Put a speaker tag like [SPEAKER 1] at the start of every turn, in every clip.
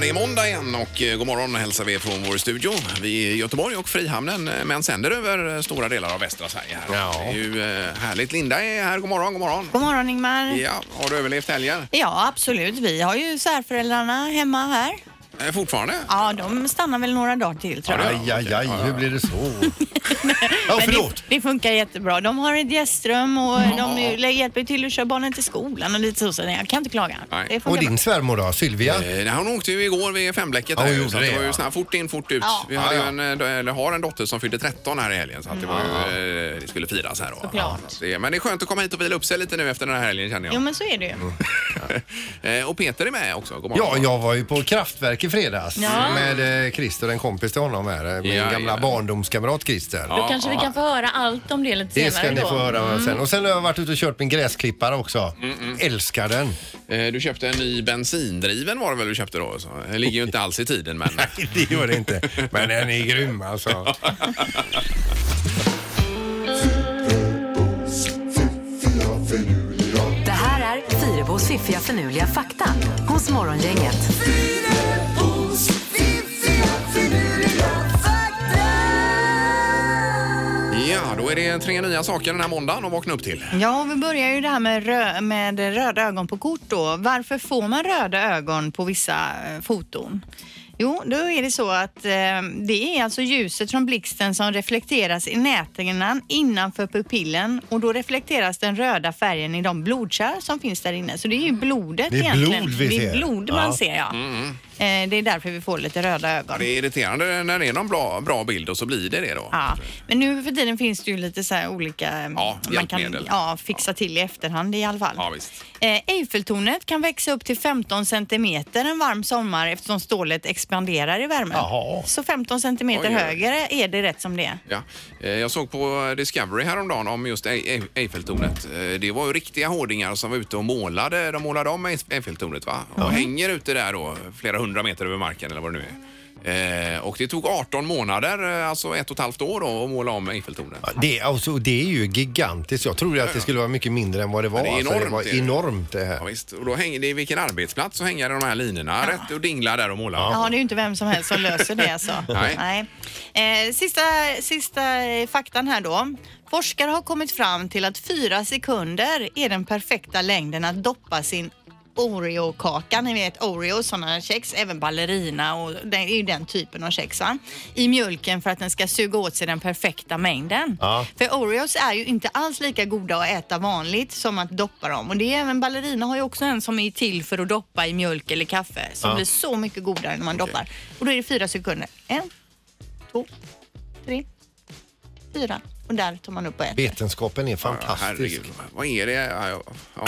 [SPEAKER 1] Det är måndag igen och eh, god morgon hälsar vi från vår studio. Vi är i Göteborg och Frihamnen eh, men sänder över eh, stora delar av västra Sverige. Här.
[SPEAKER 2] Ja.
[SPEAKER 1] Det är ju eh, härligt. Linda är här. God morgon, god morgon.
[SPEAKER 3] God morgon Ingmar. Ja.
[SPEAKER 1] Ja, har du överlevt helgen?
[SPEAKER 3] absolut. Vi har ju särföräldrarna hemma här.
[SPEAKER 1] Eh, Fortfarande?
[SPEAKER 3] Ja, de stannar väl några dagar till tror jag.
[SPEAKER 2] Aj, aj, aj, hur blir det så? Ja,
[SPEAKER 3] Men
[SPEAKER 2] förlåt.
[SPEAKER 3] Det, det funkar jättebra. De har ett gästrum och de ju- lä- hjälper till att köra barnen till skolan och lite så. så jag kan inte klaga.
[SPEAKER 1] Nej.
[SPEAKER 3] Det
[SPEAKER 2] Och
[SPEAKER 3] funkar
[SPEAKER 2] din
[SPEAKER 3] bra.
[SPEAKER 2] svärmor då, Sylvia?
[SPEAKER 1] Eh, nej, Hon åkte ju igår vid femblecket.
[SPEAKER 2] Ja,
[SPEAKER 1] här
[SPEAKER 2] hon
[SPEAKER 1] ju,
[SPEAKER 2] gjorde
[SPEAKER 1] så att
[SPEAKER 2] det,
[SPEAKER 1] var ju
[SPEAKER 2] ja.
[SPEAKER 1] sån här fort in, fort ut.
[SPEAKER 3] Ja.
[SPEAKER 1] Vi hade
[SPEAKER 2] Ja,
[SPEAKER 1] ju
[SPEAKER 2] ja.
[SPEAKER 1] en, eh, eller har en dotter som fyllde 13 här i helgen så att det, var, ju, eh, det skulle firas här. Då.
[SPEAKER 3] Såklart.
[SPEAKER 1] Så att det- Men det är skönt att komma hit och vila upp sig lite nu efter den här helgen känner jag.
[SPEAKER 3] Jo, men så är det ju.
[SPEAKER 1] Eh, Och Peter är med också. God morgon.
[SPEAKER 2] Ja, jag var ju på Kraftwerk i fredags
[SPEAKER 3] Ja.
[SPEAKER 2] med eh, Christer, en kompis till honom här. eh, Min
[SPEAKER 1] Ja,
[SPEAKER 2] gamla
[SPEAKER 1] ja.
[SPEAKER 2] barndomskamrat Christer.
[SPEAKER 1] Ja,
[SPEAKER 4] Då kanske vi
[SPEAKER 1] ja.
[SPEAKER 4] kan få höra allt om det Mm. lite
[SPEAKER 2] Det
[SPEAKER 4] senare
[SPEAKER 2] ska ni
[SPEAKER 4] då.
[SPEAKER 2] få höra sen. Och sen har jag varit ute och kört min gräsklippare också.
[SPEAKER 1] Mm,
[SPEAKER 2] Älskar den.
[SPEAKER 1] Eh, Du köpte en ny bensindriven var det väl du köpte då? Så. Det ligger ju inte alls i tiden men...
[SPEAKER 2] Det gör det inte. Men den är grym alltså.
[SPEAKER 5] Det här är Fyrabos fiffiga förnuliga fakta hos Morgongänget.
[SPEAKER 1] Ja, då är det tre nya saker den här måndagen att vakna upp till.
[SPEAKER 3] Ja, och vi börjar ju det här med, rö- med röda ögon på kort då. Varför får man röda ögon på vissa eh, foton? Jo, då är det så att eh, det är alltså ljuset från blixten som reflekteras i näthinnan innanför pupillen och då reflekteras den röda färgen i de blodkärl som finns där inne. Så det är ju blodet
[SPEAKER 2] Det är
[SPEAKER 3] egentligen.
[SPEAKER 2] blod vi
[SPEAKER 3] det är
[SPEAKER 2] ser.
[SPEAKER 3] blod
[SPEAKER 2] Ja. Mm.
[SPEAKER 3] man ser, ja. Eh, det är därför vi får lite röda ögon.
[SPEAKER 1] Mm. Det är irriterande när det är någon bra, bra bild och så blir det det då.
[SPEAKER 3] Ja, men nu för tiden finns det ju lite så här olika mm,
[SPEAKER 1] Ja,
[SPEAKER 3] man kan
[SPEAKER 1] hjälpmedel.
[SPEAKER 3] ja, fixa till i efterhand i alla fall.
[SPEAKER 1] Ja, visst.
[SPEAKER 3] Eh, Eiffeltornet kan växa upp till 15 centimeter en varm sommar eftersom stålet expanderar i värmen.
[SPEAKER 2] Jaha.
[SPEAKER 3] Så 15 centimeter
[SPEAKER 1] Oj, oj.
[SPEAKER 3] högre är det rätt som det är.
[SPEAKER 1] Ja. Eh, Jag såg på Discovery häromdagen om just Ei- Ei- Eiffeltornet. Eh, Det var ju riktiga hårdingar som var ute och målade. De målade om Eif- Eiffeltornet va? Och hänger ute där då flera hundra meter över marken eller vad det nu är. Eh, och det tog 18 månader, eh, alltså ett och ett halvt år då, att måla om Eiffeltornet.
[SPEAKER 2] Ja, Det, alltså, det är ju gigantiskt. Jag trodde att det skulle vara mycket mindre än vad det var.
[SPEAKER 1] det är
[SPEAKER 2] alltså,
[SPEAKER 1] enormt,
[SPEAKER 2] det var
[SPEAKER 1] det är det.
[SPEAKER 2] enormt det här.
[SPEAKER 1] Ja, visst. Och då hänger det i vilken arbetsplats så hänger de här linorna rätt och dinglar där och målar.
[SPEAKER 3] Ja, det är ju inte vem som helst som löser det alltså.
[SPEAKER 1] Nej.
[SPEAKER 3] Eh, sista, sista eh, faktan här då. Forskare har kommit fram till att fyra sekunder är den perfekta längden att doppa sin Oreo-kaka, ni vet Oreo, sådana kex, även ballerina och det är ju den typen av kex va? I mjölken för att den ska suga åt sig den perfekta mängden.
[SPEAKER 2] Ja.
[SPEAKER 3] För Oreos är ju inte alls lika goda att äta vanligt som att doppa dem och det är även ballerina har ju också en som är till för att doppa i mjölk eller kaffe som
[SPEAKER 2] Ja.
[SPEAKER 3] blir så mycket godare när man doppar. Och då är det fyra sekunder. En, två, tre, fyra. Och där tar man upp och äter.
[SPEAKER 2] Vetenskapen är
[SPEAKER 1] Ja,
[SPEAKER 2] fantastisk.
[SPEAKER 1] herregud, vad är det? Ja, ja, ja.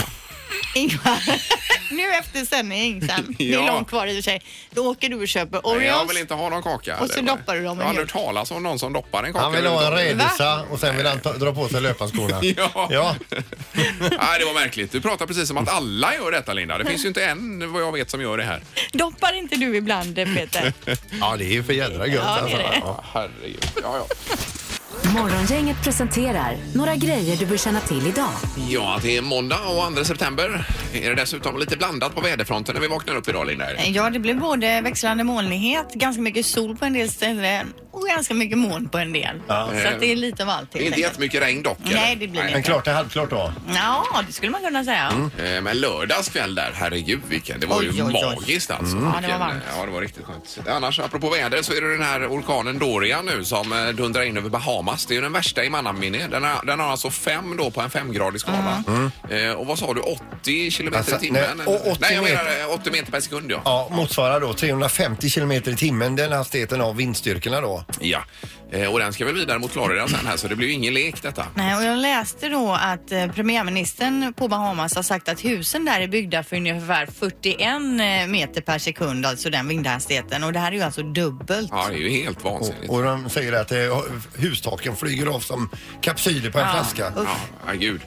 [SPEAKER 3] Ingvar, nu efter sändning sen. Det är
[SPEAKER 1] Ja.
[SPEAKER 3] långt kvar i och för sig. Då åker du och köper
[SPEAKER 1] Nej, Jag
[SPEAKER 3] Oreos.
[SPEAKER 1] vill inte ha någon kaka.
[SPEAKER 3] Och så
[SPEAKER 1] Det var-
[SPEAKER 3] doppar du dem i
[SPEAKER 1] Jag har aldrig
[SPEAKER 3] mjölk.
[SPEAKER 1] hört talas om någon som doppar en kaka.
[SPEAKER 2] Han vill ha en
[SPEAKER 1] överhuvudtaget.
[SPEAKER 2] rädisa och sen vill han ta, dra på sig löparskorna.
[SPEAKER 1] Ja.
[SPEAKER 2] ja.
[SPEAKER 1] Nej, det var märkligt. Du pratar precis som att alla gör detta, Linda. Det finns ju inte en, vad jag vet, som gör det här.
[SPEAKER 3] Doppar inte du ibland Peter?
[SPEAKER 2] Ja, det är ju för jädra gött
[SPEAKER 3] Ja, det
[SPEAKER 2] alltså.
[SPEAKER 3] är det.
[SPEAKER 2] Ja.
[SPEAKER 1] Herregud. Ja, ja.
[SPEAKER 5] Morgongänget presenterar några grejer du bör känna till idag.
[SPEAKER 1] ja, att det är måndag och 2 september. Är det dessutom lite blandat på väderfronten när vi vaknar upp idag, Linda?
[SPEAKER 3] Ja, det blir både växlande molnighet, ganska mycket sol på en del ställen och ganska mycket moln på en del. Så att det är lite av allt.
[SPEAKER 1] Det är
[SPEAKER 3] helt
[SPEAKER 1] inte
[SPEAKER 3] enkelt.
[SPEAKER 1] jättemycket regn dock. eller?
[SPEAKER 3] Nej, det blir det
[SPEAKER 2] Men klart är halvklart då.
[SPEAKER 3] Ja, det skulle man kunna säga.
[SPEAKER 1] Eh, Men lördags kväll där, herregud vilken. Det var
[SPEAKER 3] Oj,
[SPEAKER 1] ju
[SPEAKER 3] oj, oj.
[SPEAKER 1] magiskt alltså.
[SPEAKER 3] Ja, det var
[SPEAKER 1] Vilken,
[SPEAKER 3] varmt.
[SPEAKER 1] eh, Ja, det var riktigt skönt. Annars, apropå väder, så är det den här orkanen Dorian nu som eh, dundrar in över Bahamas. Det är ju den värsta i mannaminne. Den, har- den har alltså fem då på en femgradig skala.
[SPEAKER 3] Mm.
[SPEAKER 1] Eh, och vad sa du, 80 kilometer i
[SPEAKER 2] Mm. Alltså,
[SPEAKER 1] timmen?
[SPEAKER 2] nej, och 80
[SPEAKER 1] nej, jag menar
[SPEAKER 2] meter.
[SPEAKER 1] eh, 80 meter per sekund ja.
[SPEAKER 2] Ja, motsvarar då 350 kilometer i timmen den hastigheten av vindstyrkorna då.
[SPEAKER 1] ja. Eh, och den ska väl vidare mot Florida sen här så det blir ju ingen lek detta.
[SPEAKER 3] Nej, och jag läste då att eh, premiärministern på Bahamas har sagt att husen där är byggda för ungefär 41 meter per sekund, alltså den vindhastigheten. Och det här är ju alltså dubbelt.
[SPEAKER 1] Ja, det är ju helt vansinnigt.
[SPEAKER 2] Och, och de säger att eh, hustaken flyger av som kapsyler på en flaska.
[SPEAKER 3] usch.
[SPEAKER 1] Ja, ja, gud.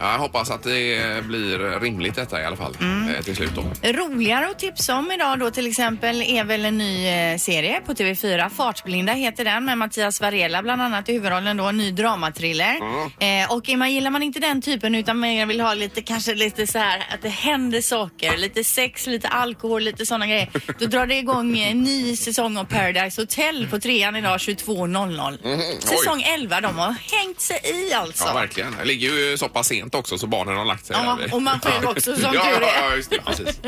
[SPEAKER 1] Ja, jag hoppas att det eh, blir rimligt detta i alla fall
[SPEAKER 2] Mm.
[SPEAKER 1] eh, till slut då.
[SPEAKER 3] Roligare att tipsa om idag då till exempel är väl en ny eh, serie på TV4. Fartblinda heter den med Mattias Varela bland annat i huvudrollen då. En ny dramatriller. Eh, och är man, gillar man inte den typen utan man vill ha lite kanske lite så här att det händer saker. Lite sex, lite alkohol, lite sådana grejer. Då drar det igång eh, en ny säsong av Paradise Hotel på trean idag 22.00.
[SPEAKER 1] Mm. oj.
[SPEAKER 3] Säsong 11. De har hängt sig i alltså.
[SPEAKER 1] Ja, verkligen. Det ligger ju så pass sent också så barnen har lagt sig.
[SPEAKER 3] Ja,
[SPEAKER 1] där.
[SPEAKER 3] och man själv också, som
[SPEAKER 1] ja,
[SPEAKER 3] tur är.
[SPEAKER 1] Ja, ja, just det. Precis.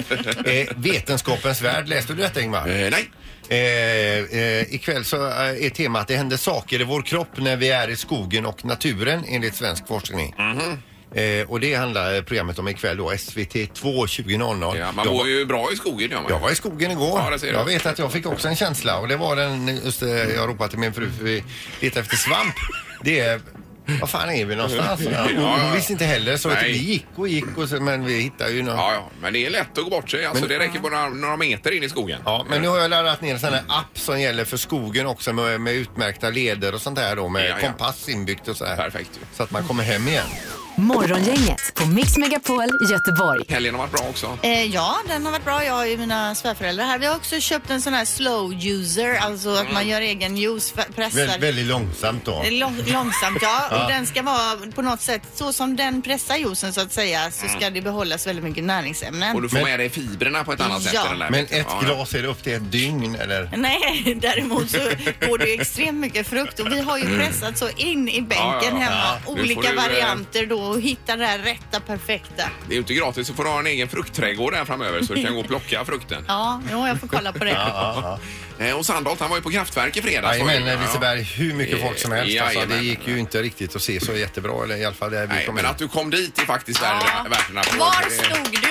[SPEAKER 2] Eh, vetenskapens värld, läste du detta Ingmar?
[SPEAKER 1] Eh, nej.
[SPEAKER 2] Eh, eh, ikväll så eh, är temat det händer saker i vår kropp när vi är i skogen och naturen enligt svensk forskning.
[SPEAKER 1] Mhm.
[SPEAKER 2] Eh, och det handlar eh, programmet om ikväll då, SVT 2 20.00.
[SPEAKER 1] Ja, man
[SPEAKER 2] jag,
[SPEAKER 1] mår
[SPEAKER 2] var,
[SPEAKER 1] ju bra i skogen gör man ju.
[SPEAKER 2] jag var i skogen igår.
[SPEAKER 1] Ja, det ser du.
[SPEAKER 2] jag vet att jag fick också en känsla och det var den, just det, jag ropade till min fru för vi letade efter svamp. Det är, vad fan är vi någonstans? Hon,
[SPEAKER 1] ja, ja.
[SPEAKER 2] hon visste inte heller så att
[SPEAKER 1] Nej.
[SPEAKER 2] vi gick och gick och så, men vi hittade ju någon.
[SPEAKER 1] Ja, ja, men det är lätt att gå bort sig. Alltså, det räcker bara några, några meter in i skogen.
[SPEAKER 2] Ja, men nu har jag laddat ner en sån här app som gäller för skogen också med, med utmärkta leder och sånt här då med
[SPEAKER 1] Ja, ja.
[SPEAKER 2] kompass inbyggt och så här.
[SPEAKER 1] Perfekt.
[SPEAKER 2] Så att man kommer hem igen.
[SPEAKER 5] Morgongänget på Mix Megapol Göteborg.
[SPEAKER 1] Helgen har varit bra också.
[SPEAKER 3] Eh, ja, den har varit bra. Jag har ju mina svärföräldrar här. Vi har också köpt en sån här slow user, alltså att
[SPEAKER 1] Mm.
[SPEAKER 3] man gör egen juice, f- pressar.
[SPEAKER 2] Vä- väldigt långsamt då.
[SPEAKER 3] Lång, långsamt, ja. Och den ska vara på något sätt, så som den pressar juicen så att säga, så ska det behållas väldigt mycket näringsämnen.
[SPEAKER 1] Mm. Och du får
[SPEAKER 2] Men-
[SPEAKER 1] med dig fibrerna på ett annat sätt.
[SPEAKER 3] Ja.
[SPEAKER 1] i den där.
[SPEAKER 2] Men ett
[SPEAKER 1] Ja, ja.
[SPEAKER 2] glas är det upp till ett dygn eller?
[SPEAKER 3] Nej, däremot så får du extremt mycket frukt och vi har ju pressat så in i bänken
[SPEAKER 1] Mm. Ja, ja, ja.
[SPEAKER 3] hemma.
[SPEAKER 1] Ja. Nu får
[SPEAKER 3] Olika
[SPEAKER 1] du, eh,
[SPEAKER 3] varianter då och hitta det här rätta, perfekta.
[SPEAKER 1] Det är ju inte gratis att få ha en egen fruktträdgård här framöver så du kan gå och plocka frukten.
[SPEAKER 3] Ja, jo, jag får kolla på det.
[SPEAKER 1] Eh, Och Sandholt han var ju på Kraftwerk i fredags. var
[SPEAKER 2] Jajamän,
[SPEAKER 1] ju- ja.
[SPEAKER 2] Liseberg, hur mycket folk som helst.
[SPEAKER 1] Ja,
[SPEAKER 2] Alltså, det
[SPEAKER 1] jajamän.
[SPEAKER 2] gick ju inte riktigt att se så jättebra. Eller i alla fall där vi
[SPEAKER 1] Nej,
[SPEAKER 2] kom
[SPEAKER 1] men
[SPEAKER 2] in.
[SPEAKER 1] att du kom dit är faktiskt värt
[SPEAKER 3] Ja.
[SPEAKER 1] värt en applåd.
[SPEAKER 3] Var
[SPEAKER 1] Det-
[SPEAKER 3] stod du?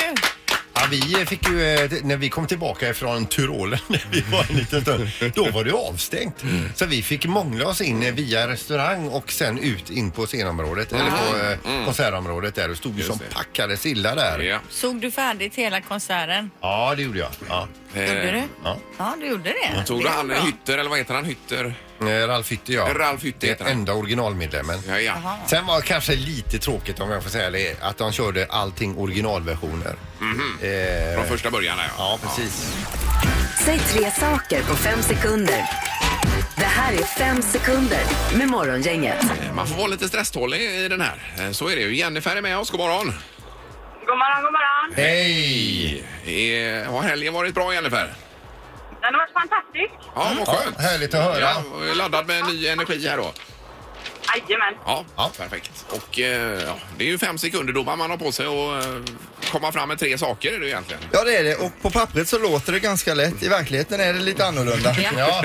[SPEAKER 2] Ja, vi fick ju, eh, det- när vi kom tillbaka från Tyrolen, när vi var en liten stund, då var det avstängt.
[SPEAKER 1] Mm.
[SPEAKER 2] Så vi fick mångla oss in eh, via restaurang och sen ut in på scenområdet, eller på eh, konsertområdet där. Det stod ju
[SPEAKER 1] Mm. Just
[SPEAKER 2] som
[SPEAKER 1] det.
[SPEAKER 2] packade sillar där.
[SPEAKER 1] Ja.
[SPEAKER 3] Såg du färdigt hela konserten?
[SPEAKER 2] Ja, det gjorde jag. Ja.
[SPEAKER 3] Gjorde du?
[SPEAKER 2] Ja.
[SPEAKER 3] Ja, du gjorde det.
[SPEAKER 1] Tog
[SPEAKER 3] Det
[SPEAKER 1] du
[SPEAKER 3] var
[SPEAKER 1] han
[SPEAKER 3] bra.
[SPEAKER 1] Hytter, eller vad heter han? Hytter?
[SPEAKER 2] Eh, Ralf Hytte, ja.
[SPEAKER 1] Ralf Hytte
[SPEAKER 2] Det
[SPEAKER 1] heter han.
[SPEAKER 2] enda originalmedlemmen.
[SPEAKER 1] Ja, ja.
[SPEAKER 2] Sen var det kanske lite tråkigt om jag får säga det, att de körde allting originalversioner. Eh,
[SPEAKER 1] Mhm. Från första början, där, ja.
[SPEAKER 2] ja, precis.
[SPEAKER 5] Säg tre saker på fem sekunder. Det här är fem sekunder med Morgongänget.
[SPEAKER 1] Eh, Man får vara lite stresstålig i den här. Eh, Så är det ju. Jennifer är med oss. God morgon!
[SPEAKER 4] God morgon, god morgon.
[SPEAKER 2] Hej!
[SPEAKER 1] Eh, Har helgen varit bra, Jennifer?
[SPEAKER 4] Den har varit fantastisk.
[SPEAKER 1] Ja, vad
[SPEAKER 2] Ja,
[SPEAKER 1] skönt.
[SPEAKER 2] härligt att höra.
[SPEAKER 1] Ja, och är laddad med ny energi här då.
[SPEAKER 4] Jajamän.
[SPEAKER 1] Ja,
[SPEAKER 2] Ja.
[SPEAKER 1] perfekt. Och eh, ja, det är ju fem sekunder då man har på sig att eh, komma fram med tre saker är det ju egentligen.
[SPEAKER 6] Ja det är det och på pappret så låter det ganska lätt. I verkligheten är det lite annorlunda.
[SPEAKER 2] Ja.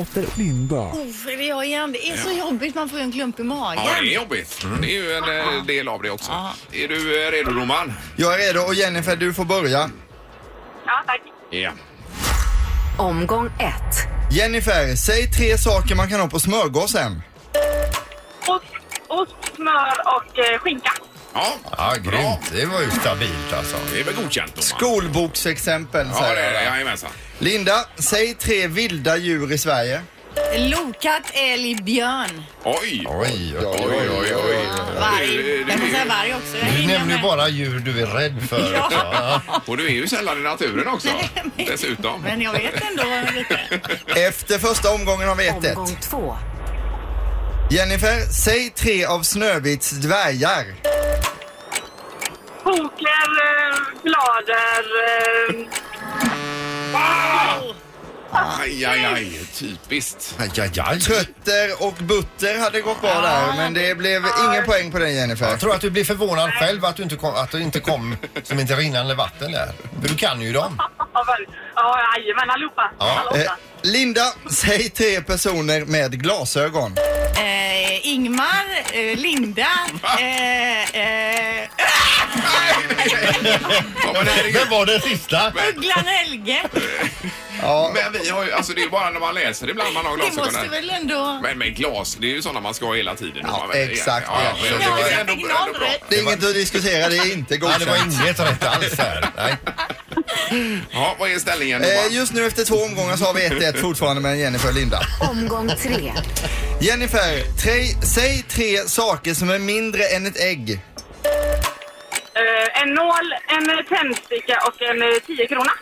[SPEAKER 3] Uff, är Oh, det jag igen? Det är så jobbigt, man får ju en klump i magen.
[SPEAKER 1] Ja, det är jobbigt. Det är ju en eh, del av det också. Är du eh, redo, Roman?
[SPEAKER 6] Jag är redo och Jennifer du får börja.
[SPEAKER 4] Ja, tack.
[SPEAKER 1] Ja.
[SPEAKER 5] Omgång ett.
[SPEAKER 6] Jennifer, säg tre saker man kan ha på smörgåsen.
[SPEAKER 4] Ost, ost smör och eh, skinka.
[SPEAKER 1] Ja,
[SPEAKER 2] Ja,
[SPEAKER 1] bra.
[SPEAKER 2] grymt. Det var ju stabilt alltså.
[SPEAKER 1] Det är väl godkänt, Roman?
[SPEAKER 6] Skolboksexempel
[SPEAKER 1] Ja,
[SPEAKER 6] säger
[SPEAKER 1] det är det.
[SPEAKER 6] jag.
[SPEAKER 1] Jajamensan.
[SPEAKER 6] Linda, säg tre vilda djur i Sverige.
[SPEAKER 3] Lokatt, älg, björn.
[SPEAKER 1] Oj!
[SPEAKER 2] Oj, oj,
[SPEAKER 1] Oj, oj, oj. oj.
[SPEAKER 3] Varg.
[SPEAKER 1] Du,
[SPEAKER 3] Jag kan säga varg också. Jag
[SPEAKER 2] Du
[SPEAKER 3] hänger
[SPEAKER 2] nämner ju
[SPEAKER 3] med.
[SPEAKER 2] bara djur du är rädd för. ja.
[SPEAKER 1] och du är ju sällan i naturen också. Dessutom.
[SPEAKER 3] Men jag vet ändå lite.
[SPEAKER 6] Efter första omgången har vi 1-1.
[SPEAKER 5] Omgång två.
[SPEAKER 6] Jennifer, säg tre av Snövits dvärgar.
[SPEAKER 4] Poker, eh, blader. Eh,
[SPEAKER 1] Aj, aj, aj. Typiskt.
[SPEAKER 2] Aj, aj, aj.
[SPEAKER 6] Trötter och butter hade gått bra där men det blev ingen poäng på den Jennifer.
[SPEAKER 2] Jag tror att du blir förvånad själv att du inte kom, att du inte kom som inte rinnande vatten där. För du kan ju dem.
[SPEAKER 4] ja, väl. ja, jajamän, allihopa.
[SPEAKER 2] Ja,
[SPEAKER 4] Alla åtta.
[SPEAKER 6] Eh, Linda, säg tre personer med glasögon.
[SPEAKER 3] Eh, Ingmar, eh, Linda, eh, eh,
[SPEAKER 1] Ja, men, herregud.
[SPEAKER 2] Vem var den sista?
[SPEAKER 3] Ugglan Helge.
[SPEAKER 6] Ja,
[SPEAKER 1] men vi har ju, alltså det är bara när man läser ibland man har
[SPEAKER 3] Det måste
[SPEAKER 1] glasögonen.
[SPEAKER 3] väl ändå...
[SPEAKER 1] Men med glas, det är ju sådana man ska ha hela tiden.
[SPEAKER 6] Ja,
[SPEAKER 1] Man vet-
[SPEAKER 6] exakt.
[SPEAKER 1] Ja, ja, men
[SPEAKER 6] Ja,
[SPEAKER 1] det var
[SPEAKER 3] jag
[SPEAKER 1] ändå-
[SPEAKER 3] fick
[SPEAKER 1] ändå
[SPEAKER 3] noll
[SPEAKER 1] bra.
[SPEAKER 3] rätt.
[SPEAKER 6] det är inget att diskutera, det är inte
[SPEAKER 2] Ja, det var
[SPEAKER 6] godkänt.
[SPEAKER 2] inget rätt alls här. Nej.
[SPEAKER 1] Ja, vad är ställningen? Johan?
[SPEAKER 6] Eh, just nu efter två omgångar så har vi 1-1 fortfarande med Jennifer och Linda.
[SPEAKER 5] Omgång tre.
[SPEAKER 6] Jennifer, tre, säg tre saker som är mindre än ett ägg.
[SPEAKER 4] Eh, en nål, en tändsticka och en eh, 10 krona.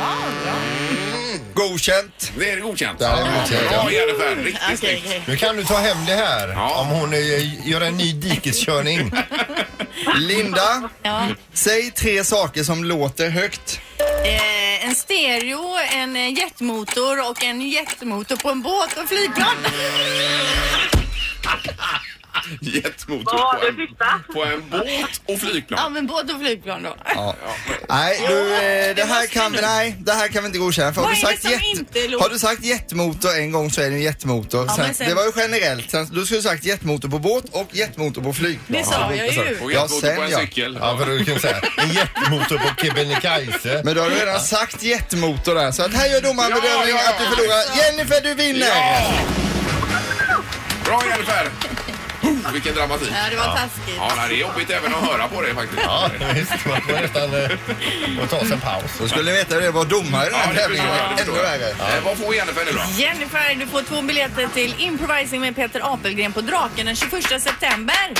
[SPEAKER 6] Mm, Godkänt.
[SPEAKER 1] Det är godkänt.
[SPEAKER 2] Ja, det är godkänt, ja.
[SPEAKER 1] Bra Jennifer, riktigt
[SPEAKER 3] Mm, Okej,
[SPEAKER 1] snyggt.
[SPEAKER 3] okej.
[SPEAKER 2] Nu kan du ta hem det här
[SPEAKER 1] Ja.
[SPEAKER 2] om hon eh, gör en ny dikeskörning.
[SPEAKER 6] Linda,
[SPEAKER 3] Ja.
[SPEAKER 6] säg tre saker som låter högt.
[SPEAKER 3] Eh, en stereo, en eh, jetmotor och en jetmotor på en båt och flygplan.
[SPEAKER 1] Jetmotor
[SPEAKER 4] Vad var
[SPEAKER 1] på
[SPEAKER 4] det
[SPEAKER 1] en,
[SPEAKER 4] sista?
[SPEAKER 1] på en båt och flygplan.
[SPEAKER 3] Ja, men båt och flygplan då.
[SPEAKER 6] Ja. Nej, du, eh, det, här kan vi, nej, det här kan vi inte godkänna. För har,
[SPEAKER 3] Vad
[SPEAKER 6] du
[SPEAKER 3] är det
[SPEAKER 6] sagt
[SPEAKER 3] som inte låter?
[SPEAKER 6] har du sagt jetmotor en gång så är det en jetmotor.
[SPEAKER 3] Ja,
[SPEAKER 6] sen,
[SPEAKER 3] men sen-
[SPEAKER 6] Det var ju generellt. Sen, du skulle ha sagt jetmotor på båt och jetmotor på flygplan.
[SPEAKER 3] Det sa jag ju.
[SPEAKER 1] Och
[SPEAKER 6] Ja,
[SPEAKER 1] jetmotor på
[SPEAKER 6] sen
[SPEAKER 1] en
[SPEAKER 6] ja.
[SPEAKER 1] cykel.
[SPEAKER 2] Ja, för du kan säga en jetmotor på Kebnekaise.
[SPEAKER 6] Men då har du redan sagt jetmotor där. Så att här gör domaren
[SPEAKER 1] Ja,
[SPEAKER 6] bedömning
[SPEAKER 1] ja,
[SPEAKER 6] att du förlorar. Jennifer, du vinner!
[SPEAKER 1] Ja! Bra Jennifer! Oh, Vilken dramatik.
[SPEAKER 3] Ja, det var taskigt.
[SPEAKER 1] Ja, nej, det är jobbigt även att höra på det faktiskt.
[SPEAKER 2] Ja, visst. Man får nästan eh, få ta sig en paus.
[SPEAKER 6] Då skulle ni veta hur det var domare i den här
[SPEAKER 1] det
[SPEAKER 6] tävlingen.
[SPEAKER 1] förstår jag, det
[SPEAKER 6] Ännu
[SPEAKER 1] förstår jag.
[SPEAKER 6] värre.
[SPEAKER 1] Eh, Vad får Jennifer nu då?
[SPEAKER 3] Jennifer, du får två biljetter till Improvising med Peter Apelgren på Draken den 21 september.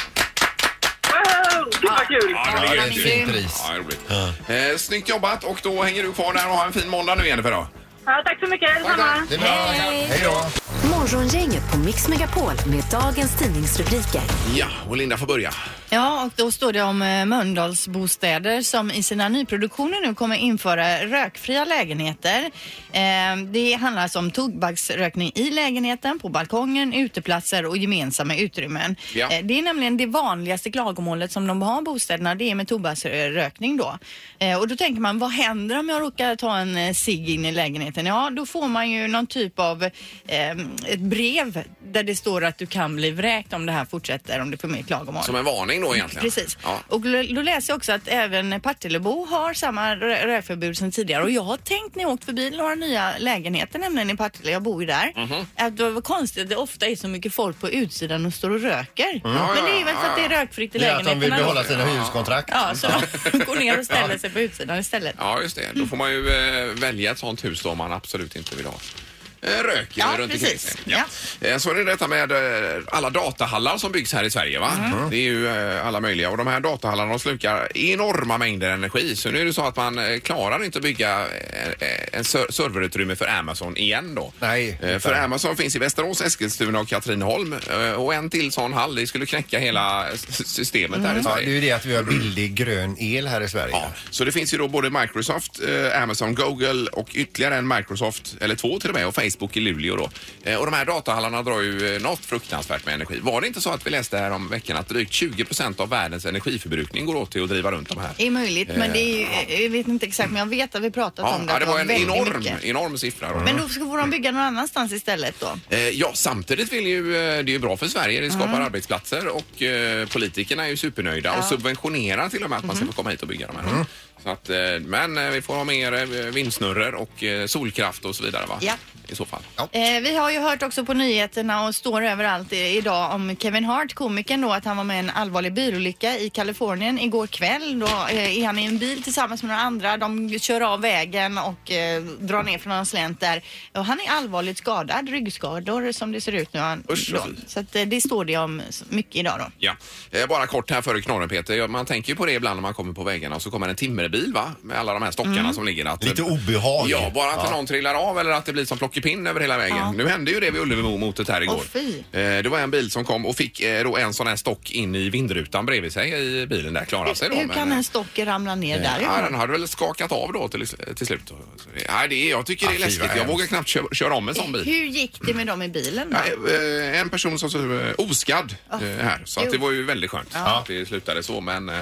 [SPEAKER 4] Woho! Gud vad kul!
[SPEAKER 1] Ja,
[SPEAKER 2] Ja, det
[SPEAKER 1] ligger
[SPEAKER 2] är ett
[SPEAKER 1] rätt.
[SPEAKER 2] fint pris.
[SPEAKER 1] Ja, det är roligt. Eh, snyggt jobbat och då hänger du kvar där och har en fin måndag nu Jennifer då.
[SPEAKER 4] Ja, tack så mycket, detsamma!
[SPEAKER 2] Det är bra. Hej då.
[SPEAKER 5] Morgongänget på Mix Megapol med dagens tidningsrubriker.
[SPEAKER 1] Ja, och Linda får börja.
[SPEAKER 3] Ja, och då står det om eh, Mölndalsbostäder som i sina nyproduktioner nu kommer införa rökfria lägenheter. Eh, Det handlar alltså om tobaksrökning i lägenheten, på balkongen, uteplatser och gemensamma utrymmen.
[SPEAKER 1] Ja.
[SPEAKER 3] Eh, Det är nämligen det vanligaste klagomålet som de har i bostäderna, det är med tobaksrökning då. Eh, Och då tänker man, vad händer om jag råkar ta en eh, cigg in i lägenheten? Ja, då får man ju någon typ av eh, ett brev där det står att du kan bli vräkt om det här fortsätter, om du får mer klagomål.
[SPEAKER 1] Som en varning då egentligen.
[SPEAKER 3] Precis.
[SPEAKER 1] Ja.
[SPEAKER 3] Och l- då läser jag också att även Partillebo har samma rö- rökförbud sedan tidigare och jag har tänkt när jag åkt förbi några nya lägenheter nämligen i Partille, jag bor ju där, att det var konstigt att det ofta är så mycket folk på utsidan och står och röker.
[SPEAKER 1] Mm. Ja, ja,
[SPEAKER 3] Men det är väl
[SPEAKER 1] ja,
[SPEAKER 3] för att det är rökfritt i
[SPEAKER 2] Det är att de vill
[SPEAKER 3] lägenheterna. då.
[SPEAKER 2] behålla sina hyreskontrakt.
[SPEAKER 3] Ja, så de går ner och ställer sig på utsidan istället.
[SPEAKER 1] Ja, just det. Då får man ju eh, välja ett sånt hus då om man absolut inte vill ha eh, rök
[SPEAKER 3] Ja,
[SPEAKER 1] runt omkring
[SPEAKER 3] precis.
[SPEAKER 1] sig. Eh, Så är det detta med eh, alla datahallar som byggs här i Sverige. Va?
[SPEAKER 2] Mm.
[SPEAKER 1] Det är ju eh, alla möjliga och de här datahallarna de slukar enorma mängder energi. Så nu är det så att man eh, klarar inte att bygga eh, eh, en ser- serverutrymme för Amazon igen då.
[SPEAKER 2] Nej.
[SPEAKER 1] Eh, För Amazon finns i Västerås, Eskilstuna och Katrineholm Eh, och en till sån hall, det skulle knäcka hela s- systemet här i
[SPEAKER 2] Mm. Ja,
[SPEAKER 1] Sverige.
[SPEAKER 2] det är ju det att vi har billig grön el här i Sverige.
[SPEAKER 1] Ja, så det finns ju då både Microsoft, eh, Amazon, Google och ytterligare en Microsoft, eller två till och med, och Facebook i Luleå då. Eh, och de här datahallarna drar ju eh, något fruktansvärt med energi. Var det inte så att vi läste här om veckan att drygt 20 procent av världens energiförbrukning går åt till att driva runt de här?
[SPEAKER 3] Det är möjligt, men det är ju, jag vet inte exakt, men jag vet att vi pratat
[SPEAKER 1] Eh. Ja,
[SPEAKER 3] om det.
[SPEAKER 1] ja,
[SPEAKER 3] att
[SPEAKER 1] det var en
[SPEAKER 3] väldigt
[SPEAKER 1] enorm,
[SPEAKER 3] mycket.
[SPEAKER 1] enorm siffra. Då.
[SPEAKER 3] Men då ska- får de bygga någon annanstans istället då?
[SPEAKER 1] Eh, Ja, samtidigt vill ju, eh, det är ju bra för Sverige, det skapar arbetsplatser och eh, politikerna är ju supernöjda och subventionerar till och med att man ska
[SPEAKER 3] Mhm.
[SPEAKER 1] få komma hit och bygga de
[SPEAKER 2] Mm.
[SPEAKER 1] här. Så att, eh, men eh, vi får ha mer eh, vindsnurror och eh, solkraft och så vidare va?
[SPEAKER 3] Ja.
[SPEAKER 1] I så fall.
[SPEAKER 3] Eh, vi har ju hört också på nyheterna och står överallt i, idag om Kevin Hart, komikern då, att han var med i en allvarlig bilolycka i Kalifornien igår kväll. Då eh, är han i en bil tillsammans med några andra. De kör av vägen och eh, drar ner från någon slänt där. Och han är allvarligt skadad, ryggskador som det ser ut nu. Han,
[SPEAKER 1] Usch,
[SPEAKER 3] då.
[SPEAKER 1] vad fint.
[SPEAKER 3] Så att, eh, det står det om s- mycket idag då.
[SPEAKER 1] Ja. Eh, Bara kort här före knorren Peter. Ja, Man tänker ju på det ibland när man kommer på vägarna och så kommer en timmerbil va? Med alla de här stockarna
[SPEAKER 3] Mm.
[SPEAKER 1] som ligger. Att,
[SPEAKER 2] Lite obehag.
[SPEAKER 1] Ja, bara att någon trillar av eller att det blir som plockepinn över hela vägen. Nu hände ju det vid Ullevi-motet här igår.
[SPEAKER 3] fy.
[SPEAKER 1] Eh, det var en bil som kom och fick eh, då en sån här stock in i vindrutan bredvid sig i bilen där. Klarade sig då.
[SPEAKER 3] Hur
[SPEAKER 1] men,
[SPEAKER 3] kan
[SPEAKER 1] eh,
[SPEAKER 3] en stock ramla ner
[SPEAKER 1] Ja,
[SPEAKER 3] där?
[SPEAKER 1] den hade väl skakat av då till, till slut. Så, det- Nej, det är, jag tycker det är
[SPEAKER 2] Ja, fy, vad
[SPEAKER 1] läskigt. Jag
[SPEAKER 2] hemskt.
[SPEAKER 1] vågar knappt köra, köra om en sån bil.
[SPEAKER 3] Hur gick det med dem i bilen då?
[SPEAKER 1] Ja, eh, En person som stod eh, oskadd eh, här. Så att det var ju väldigt skönt att det slutade så. Men eh,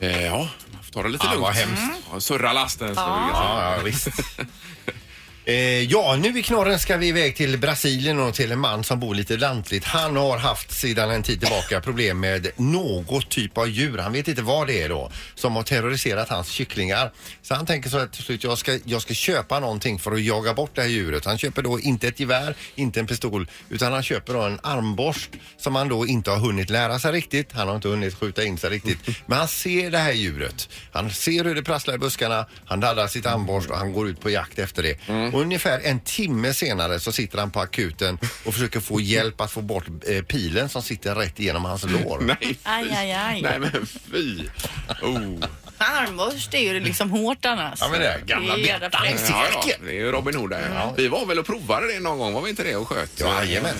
[SPEAKER 1] eh, ja, man får ta det lite
[SPEAKER 2] Ja,
[SPEAKER 1] lugnt.
[SPEAKER 2] vad hemskt.
[SPEAKER 1] Ja, Surra lasten. så-
[SPEAKER 2] Ja, ja, visst. Eh, ja, nu i knorren ska vi iväg till Brasilien och till en man som bor lite lantligt. Han har haft sedan en tid tillbaka problem med något typ av djur, han vet inte vad det är då, som har terroriserat hans kycklingar. Så han tänker så att till slut, jag ska, jag ska köpa någonting för att jaga bort det här djuret. Han köper då inte ett gevär, inte en pistol, utan han köper då en armborst som han då inte har hunnit lära sig riktigt. Han har inte hunnit skjuta in sig riktigt. Men han ser det här djuret. Han ser hur det prasslar i buskarna, han laddar sitt armborst och han går ut på jakt efter det.
[SPEAKER 1] Mm.
[SPEAKER 2] Och ungefär en timme senare så sitter han på akuten och försöker få hjälp att få bort eh, pilen som sitter rätt igenom hans lår.
[SPEAKER 1] Nej, fy.
[SPEAKER 3] Aj, aj, aj.
[SPEAKER 1] Nej, men fy. Oh.
[SPEAKER 3] Armborst är ju liksom hårt annars.
[SPEAKER 2] Ja, men det är gamla
[SPEAKER 3] Det Mm. är jävla
[SPEAKER 2] betan.
[SPEAKER 3] fräckt.
[SPEAKER 1] Ja, ja, det är ju Robin Hood där. Vi var väl och provade det någon gång, var vi inte det? Och sköt? Eh,
[SPEAKER 2] Jajamän.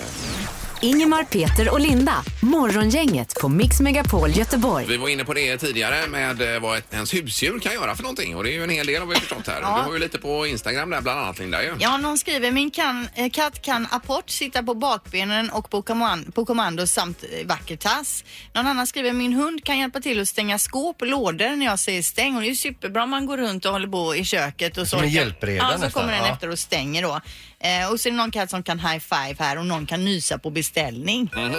[SPEAKER 5] Ingemar, Peter och Linda. Morgongänget på Mix Megapol Göteborg.
[SPEAKER 1] Vi var inne på det tidigare med eh, vad ett, ens husdjur kan göra för någonting och det är ju en hel del har vi förstått här. Du har ju lite på Instagram där bland annat Linda ju.
[SPEAKER 3] Ja, någon skriver min kan, eh, katt kan apport sitta på bakbenen och på, komman- på kommando samt eh, vacker tass. Någon annan skriver min hund kan hjälpa till att stänga skåp och lådor när jag säger stäng. Och det är ju superbra om man går runt och håller på i köket. Och så
[SPEAKER 2] Som en hjälpreda
[SPEAKER 3] Ja, så
[SPEAKER 2] nästan,
[SPEAKER 3] kommer den
[SPEAKER 2] ja.
[SPEAKER 3] efter och stänger då. Eh, och så är det någon katt som kan high five här och någon kan nysa på beställning.
[SPEAKER 1] Mhm.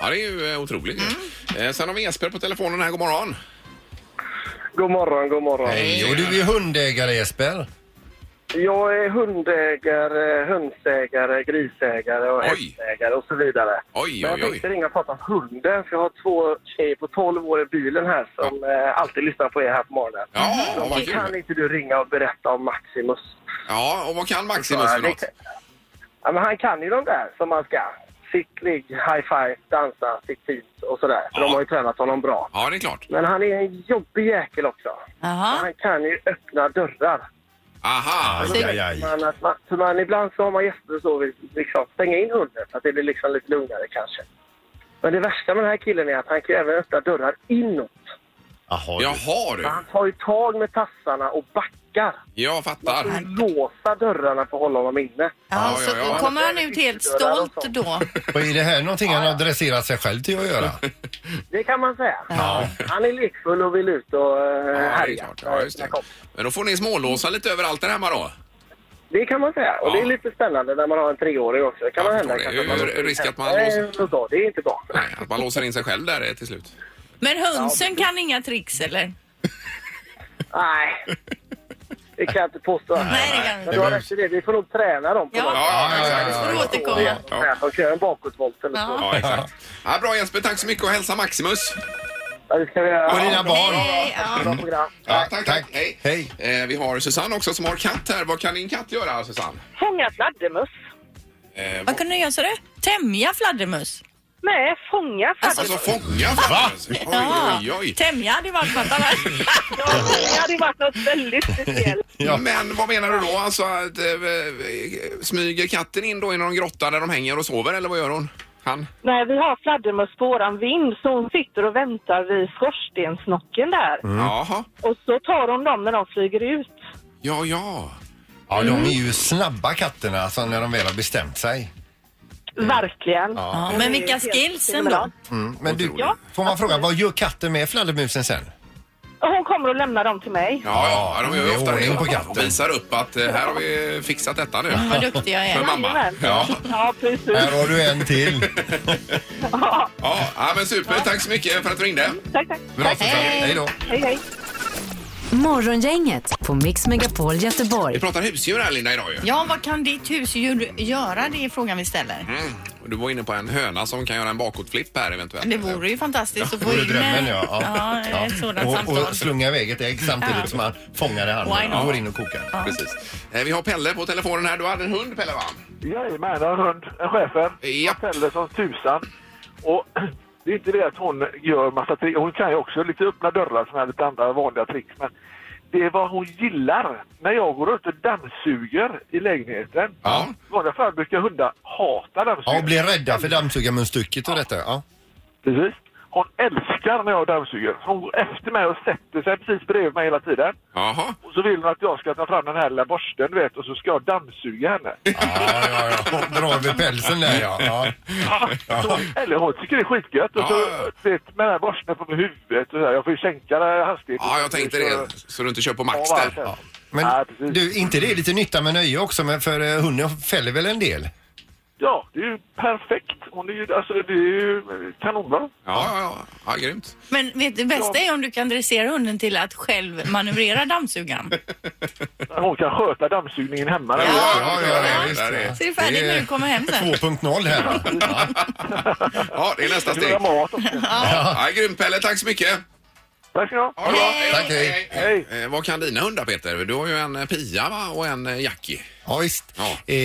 [SPEAKER 1] Ja, det är ju eh, otroligt. Mm. Sen har vi Jesper på telefonen här, god morgon.
[SPEAKER 7] God morgon, god morgon.
[SPEAKER 2] Hej, och du är ju hundägare Jesper.
[SPEAKER 7] Jag är hundägare, hönsägare, grisägare och
[SPEAKER 1] Oj.
[SPEAKER 7] hästägare och så vidare.
[SPEAKER 1] Oj,
[SPEAKER 7] Men jag
[SPEAKER 1] oj, oj.
[SPEAKER 7] tänkte ringa och prata om hunden, för jag har två tjejer på 12 år i bilen här som eh, alltid lyssnar på er här på morgonen.
[SPEAKER 1] Ja,
[SPEAKER 7] Så
[SPEAKER 1] vad
[SPEAKER 7] kan
[SPEAKER 1] kul.
[SPEAKER 7] inte du ringa och berätta om Maximus?
[SPEAKER 1] Ja, och vad kan Maximus för
[SPEAKER 7] Ja, det-
[SPEAKER 1] något?
[SPEAKER 7] Ja, men han kan ju de där som man ska. Sitt, ligg, high five, dansa, sitt fint och sådär. För
[SPEAKER 1] Ja.
[SPEAKER 7] de har ju tränat honom bra.
[SPEAKER 1] Ja, det är klart.
[SPEAKER 7] Men han är en jobbig jäkel också.
[SPEAKER 3] Jaha.
[SPEAKER 7] Han kan ju öppna dörrar.
[SPEAKER 1] Aha,
[SPEAKER 2] Aj, aj, aj.
[SPEAKER 7] Alltså, Man, att man, för man, ibland så har man gäster och så vill liksom stänga in hunden så att det blir liksom lite lugnare kanske. Men det värsta med den här killen är att han kan ju även öppna dörrar inåt.
[SPEAKER 2] Jaha, du.
[SPEAKER 1] jaha du.
[SPEAKER 7] Så han tar ju tag med tassarna och backar.
[SPEAKER 1] Jag
[SPEAKER 7] Och
[SPEAKER 1] fattar.
[SPEAKER 7] låsa dörrarna för att hålla honom inne.
[SPEAKER 3] Ja,
[SPEAKER 1] Ja,
[SPEAKER 3] så
[SPEAKER 1] ja, ja.
[SPEAKER 3] kommer han ut helt stolt då.
[SPEAKER 2] Och är det här någonting han har dresserat sig själv till att göra?
[SPEAKER 7] Det kan man säga. Han är lekfull och vill ut och eh,
[SPEAKER 1] Ja, det är
[SPEAKER 7] härja.
[SPEAKER 1] klart. Ja, just det. Men då får ni smålåsa lite överallt där hemma då.
[SPEAKER 7] Det kan man säga. Och
[SPEAKER 1] Ja.
[SPEAKER 7] det är lite spännande när man har en treåring också. Det kan
[SPEAKER 1] Ja,
[SPEAKER 7] man
[SPEAKER 1] jag
[SPEAKER 7] hända.
[SPEAKER 1] förstår det.
[SPEAKER 7] kanske
[SPEAKER 1] Hur-
[SPEAKER 7] låter-
[SPEAKER 1] risk att man
[SPEAKER 7] Nej,
[SPEAKER 1] låser-
[SPEAKER 7] så då. Det är inte bra.
[SPEAKER 1] Nej, att man låser in sig själv där eh, till slut.
[SPEAKER 3] Men hönsen kan inga tricks eller?
[SPEAKER 7] Nej. Det kan jag inte påstå.
[SPEAKER 3] Nej, det kan
[SPEAKER 7] Men
[SPEAKER 3] inte.
[SPEAKER 7] du har rätt i det. Vi får nog träna dem på
[SPEAKER 3] Ja,
[SPEAKER 7] något
[SPEAKER 1] Ja, ja, ja,
[SPEAKER 3] du
[SPEAKER 1] ja,
[SPEAKER 3] får
[SPEAKER 1] ja.
[SPEAKER 3] återkomma.
[SPEAKER 7] sätt. Så här, De kör en bakåtvolt eller så.
[SPEAKER 1] Ja, exakt. Ja, bra Jesper, tack så mycket och hälsa Maximus.
[SPEAKER 7] Ja, det ska vi göra.
[SPEAKER 2] Och dina barn?
[SPEAKER 3] Hej, ja.
[SPEAKER 7] Bra program.
[SPEAKER 1] Ja, tack, tack.
[SPEAKER 2] tack.
[SPEAKER 1] Hej.
[SPEAKER 2] Hej.
[SPEAKER 1] Eh, vi har Susanne också som har katt här. Vad kan din katt göra, Susanne?
[SPEAKER 4] Fånga fladdermus.
[SPEAKER 1] Eh,
[SPEAKER 3] Vad kunde du göra sa du? Tämja fladdermus?
[SPEAKER 4] Nej, fånga fladdermus.
[SPEAKER 1] Alltså fånga fladdermus? Oj, oj, oj.
[SPEAKER 3] Tämja hade varit något annat.
[SPEAKER 4] det hade varit något väldigt speciellt.
[SPEAKER 2] Ja.
[SPEAKER 1] Men vad menar du då? Alltså, att, eh, eh, smyger katten in då i någon grotta där de hänger och sover eller vad gör hon? Han?
[SPEAKER 4] Nej, vi har fladdermus på våran vind så hon sitter och väntar vid skorstensnocken där.
[SPEAKER 1] Mm. Jaha.
[SPEAKER 4] Och så tar hon dem när de flyger ut.
[SPEAKER 1] Ja, ja.
[SPEAKER 2] Ja,
[SPEAKER 8] Mm.
[SPEAKER 2] de är ju snabba katterna alltså, när de väl har bestämt sig.
[SPEAKER 1] Mm.
[SPEAKER 4] Verkligen.
[SPEAKER 3] Ja, men vilka skills ändå.
[SPEAKER 2] Mm, Men du, får man fråga, vad gör katten med fladdermusen sen?
[SPEAKER 4] Och hon kommer och lämnar dem till mig.
[SPEAKER 1] Ja, ja. ja de gör
[SPEAKER 2] Det
[SPEAKER 1] ju
[SPEAKER 2] är
[SPEAKER 1] ofta det.
[SPEAKER 2] ordning på katten.
[SPEAKER 1] Och visar upp att eh, här har vi fixat detta nu.
[SPEAKER 3] Vad duktig jag
[SPEAKER 1] För
[SPEAKER 3] är.
[SPEAKER 1] mamma.
[SPEAKER 4] Jajamän.
[SPEAKER 1] Ja,
[SPEAKER 4] Ja, precis.
[SPEAKER 2] Här har du en till.
[SPEAKER 4] Ja,
[SPEAKER 1] ja. ja men super. Tack så mycket för att du ringde.
[SPEAKER 4] tack, tack.
[SPEAKER 2] Bra Susanne, hej då.
[SPEAKER 4] Hej, hej.
[SPEAKER 5] Morgongänget på Mix Megapol
[SPEAKER 1] Vi
[SPEAKER 5] Göteborg.
[SPEAKER 1] pratar husdjur här Linda idag ju.
[SPEAKER 3] Ja, vad kan ditt husdjur göra? Det är frågan vi ställer.
[SPEAKER 1] Mm. Och Du var inne på en höna som kan göra en bakåtflipp här eventuellt.
[SPEAKER 3] Det vore ju fantastiskt att få
[SPEAKER 2] Vore
[SPEAKER 3] in
[SPEAKER 2] drömmen,
[SPEAKER 3] eh,
[SPEAKER 2] ja. Ja.
[SPEAKER 3] ja, ett sådant
[SPEAKER 2] Och, och
[SPEAKER 3] samtal.
[SPEAKER 2] slunga iväg ett ägg samtidigt som man fångar det
[SPEAKER 3] Why
[SPEAKER 2] i handen
[SPEAKER 3] not?
[SPEAKER 2] och går in och kokar.
[SPEAKER 1] Precis. Eh, Vi har Pelle på telefonen här. Du hade en hund Pelle va?
[SPEAKER 8] Jajamän, en hund, en schäfer.
[SPEAKER 1] Japp.
[SPEAKER 8] Pelle som tusan. Och det är inte det att hon gör massa trick. Hon kan ju också lite öppna dörrar som är lite andra vanliga tricks. Men det är vad hon gillar. När jag går runt och dammsuger i lägenheten.
[SPEAKER 1] Ja.
[SPEAKER 8] I vanliga fall brukar hundar hata dammsugare.
[SPEAKER 2] Ja, och bli rädda för dammsugarmunstycket och detta. Ja.
[SPEAKER 8] Precis. Hon älskar när jag dammsuger. Så Hon går efter mig och sätter sig precis bredvid mig hela tiden.
[SPEAKER 1] Jaha.
[SPEAKER 8] Och så vill hon att jag ska ta fram den här lilla borsten, du vet, och så ska jag dammsuga henne.
[SPEAKER 2] Ja, ja, ja. Dra över pälsen där ja. ja.
[SPEAKER 8] Så, eller hon tycker det är skitgött. Och så,
[SPEAKER 1] Ja.
[SPEAKER 8] du vet, med den här borsten på huvudet och så här. Jag får ju sänka den här hastigheten.
[SPEAKER 1] Ja, jag tänkte det. Så du inte kör på max
[SPEAKER 8] Ja,
[SPEAKER 1] där.
[SPEAKER 8] verkligen.
[SPEAKER 2] Men
[SPEAKER 8] Ja, precis.
[SPEAKER 2] du, inte det är lite nytta med nöje också, men för eh, hunden fäller väl en del?
[SPEAKER 8] Ja, det är ju perfekt. Hon är ju, alltså, det är ju kanonbra.
[SPEAKER 1] Ja, ja, ja. ja grymt.
[SPEAKER 3] Men vet, det bästa är om du kan dressera hunden till att själv manövrera dammsugaren.
[SPEAKER 8] Hon kan sköta dammsugningen hemma.
[SPEAKER 3] Ja.
[SPEAKER 2] ja, ja, ja, visst.
[SPEAKER 1] Där är-
[SPEAKER 3] Så är det färdigt
[SPEAKER 2] Det är-
[SPEAKER 3] när du kommer hem sen.
[SPEAKER 2] 2.0 här va?
[SPEAKER 1] Ja, det är nästa
[SPEAKER 8] Jag ska
[SPEAKER 1] steg.
[SPEAKER 8] göra mat också.
[SPEAKER 1] Ja, grymt Pelle, tack så mycket.
[SPEAKER 8] Tack ska ni ha.
[SPEAKER 1] Ha det bra. Hej då.
[SPEAKER 2] Tack, hej.
[SPEAKER 8] Hej.
[SPEAKER 1] Eh, vad kan dina hundar Peter? Du har ju en eh, Pia va? och en eh, Jackie.
[SPEAKER 2] Ja, visst.
[SPEAKER 1] Ja. Mm.
[SPEAKER 2] Eh,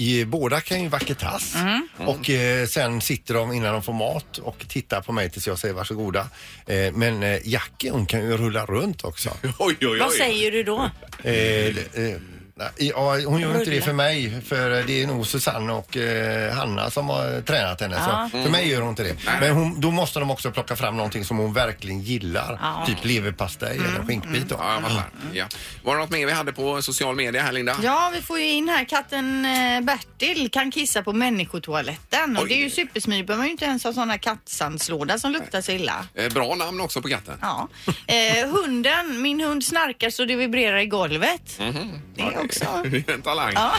[SPEAKER 2] i, båda kan ju vacker tass och eh, sen sitter de innan de får mat och tittar på mig tills jag säger varsågoda. Eh, men eh, Jackie hon kan ju rulla runt också.
[SPEAKER 1] Oj, oj, oj.
[SPEAKER 3] Vad säger du då?
[SPEAKER 2] Eh, eh, nej, ja, hon gör inte det för mig för det är nog Susanne och eh, Hanna som har tränat henne. Så för mig gör hon inte det. Men hon, då måste de också plocka fram någonting som hon verkligen gillar.
[SPEAKER 3] Ja. Mm.
[SPEAKER 2] Typ leverpastej eller skinkbit. Då.
[SPEAKER 1] Mm. Ja, jag
[SPEAKER 2] Mm.
[SPEAKER 1] fattar. Ja. Var det något mer vi hade på social media här Linda?
[SPEAKER 3] Ja, vi får ju in här katten eh, Bertil kan kissa på människotoaletten och
[SPEAKER 1] Oj.
[SPEAKER 3] det är ju supersmidigt. behöver man ju inte ens ha sådana kattsandslåda som luktar så illa.
[SPEAKER 1] Eh, bra namn också på katten.
[SPEAKER 3] Ja. Eh, hunden, min hund snarkar så det vibrerar i golvet. Det är också...
[SPEAKER 1] Mhm. Det är en talang.
[SPEAKER 3] Ja.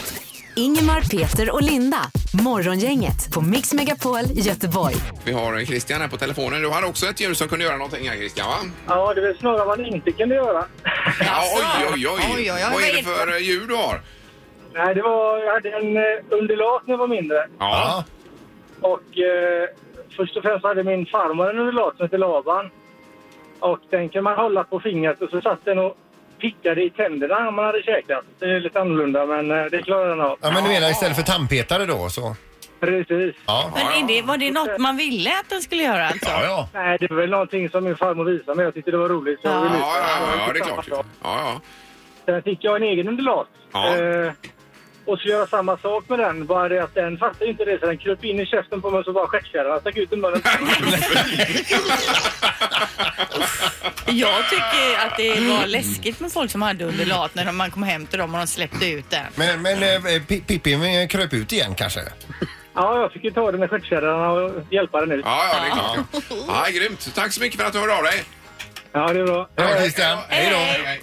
[SPEAKER 5] Ingemar, Peter och Linda. Morgongänget på Mix Megapol Göteborg.
[SPEAKER 1] Vi har eh, Christian här på telefonen. Du hade också ett djur som kunde göra någonting här Christian va?
[SPEAKER 9] Ja, det är väl snarare vad man inte kunde göra.
[SPEAKER 1] Ja, oj, oj, oj.
[SPEAKER 3] Oj, oj, oj. Vad
[SPEAKER 1] Vad är det
[SPEAKER 3] är det
[SPEAKER 1] för eh, djur du har?
[SPEAKER 9] Nej, det var, jag hade en eh, undulat när jag var mindre.
[SPEAKER 1] Ja.
[SPEAKER 2] Ja.
[SPEAKER 9] Och eh, först och främst hade min farmor en undulat som hette Laban. Och den kunde man hålla på fingret och så satt den och pickade i tänderna om man hade käkat. Det är lite annorlunda men eh, det klarade den av.
[SPEAKER 2] Ja, men du menar istället för tandpetare då? Så.
[SPEAKER 9] Precis.
[SPEAKER 2] Ja.
[SPEAKER 3] Men är det, var det något man ville att den skulle göra alltså?
[SPEAKER 2] Ja, ja.
[SPEAKER 9] Nej, det var väl någonting som min farmor visade mig. Jag tyckte det var roligt. Så jag
[SPEAKER 3] Ja.
[SPEAKER 1] Ja,
[SPEAKER 9] ville ut.
[SPEAKER 1] ja, ja, det är klart. Ja, ja.
[SPEAKER 9] Sen fick jag en egen undulat.
[SPEAKER 1] Ja.
[SPEAKER 9] Eh, och skulle göra samma sak med den. Bara det att den fattade ju inte det så den kröp in i käften på mig så bara stjärtkärran stack ut ur munnen.
[SPEAKER 3] Jag tycker att det var läskigt med folk som hade undulat när de- man kom hem till dem och de släppte ut den.
[SPEAKER 2] Men, men eh, Pi- Pippi eh, kröp ut igen kanske?
[SPEAKER 9] ja, jag fick ju ta den med stjärtkärran och hjälpa den ut.
[SPEAKER 1] Ja, ja, det är klart. Ja, grymt. Tack så mycket för att du hörde av dig.
[SPEAKER 9] Ja, det är bra.
[SPEAKER 2] Bra Christian, hej då!
[SPEAKER 1] Hej.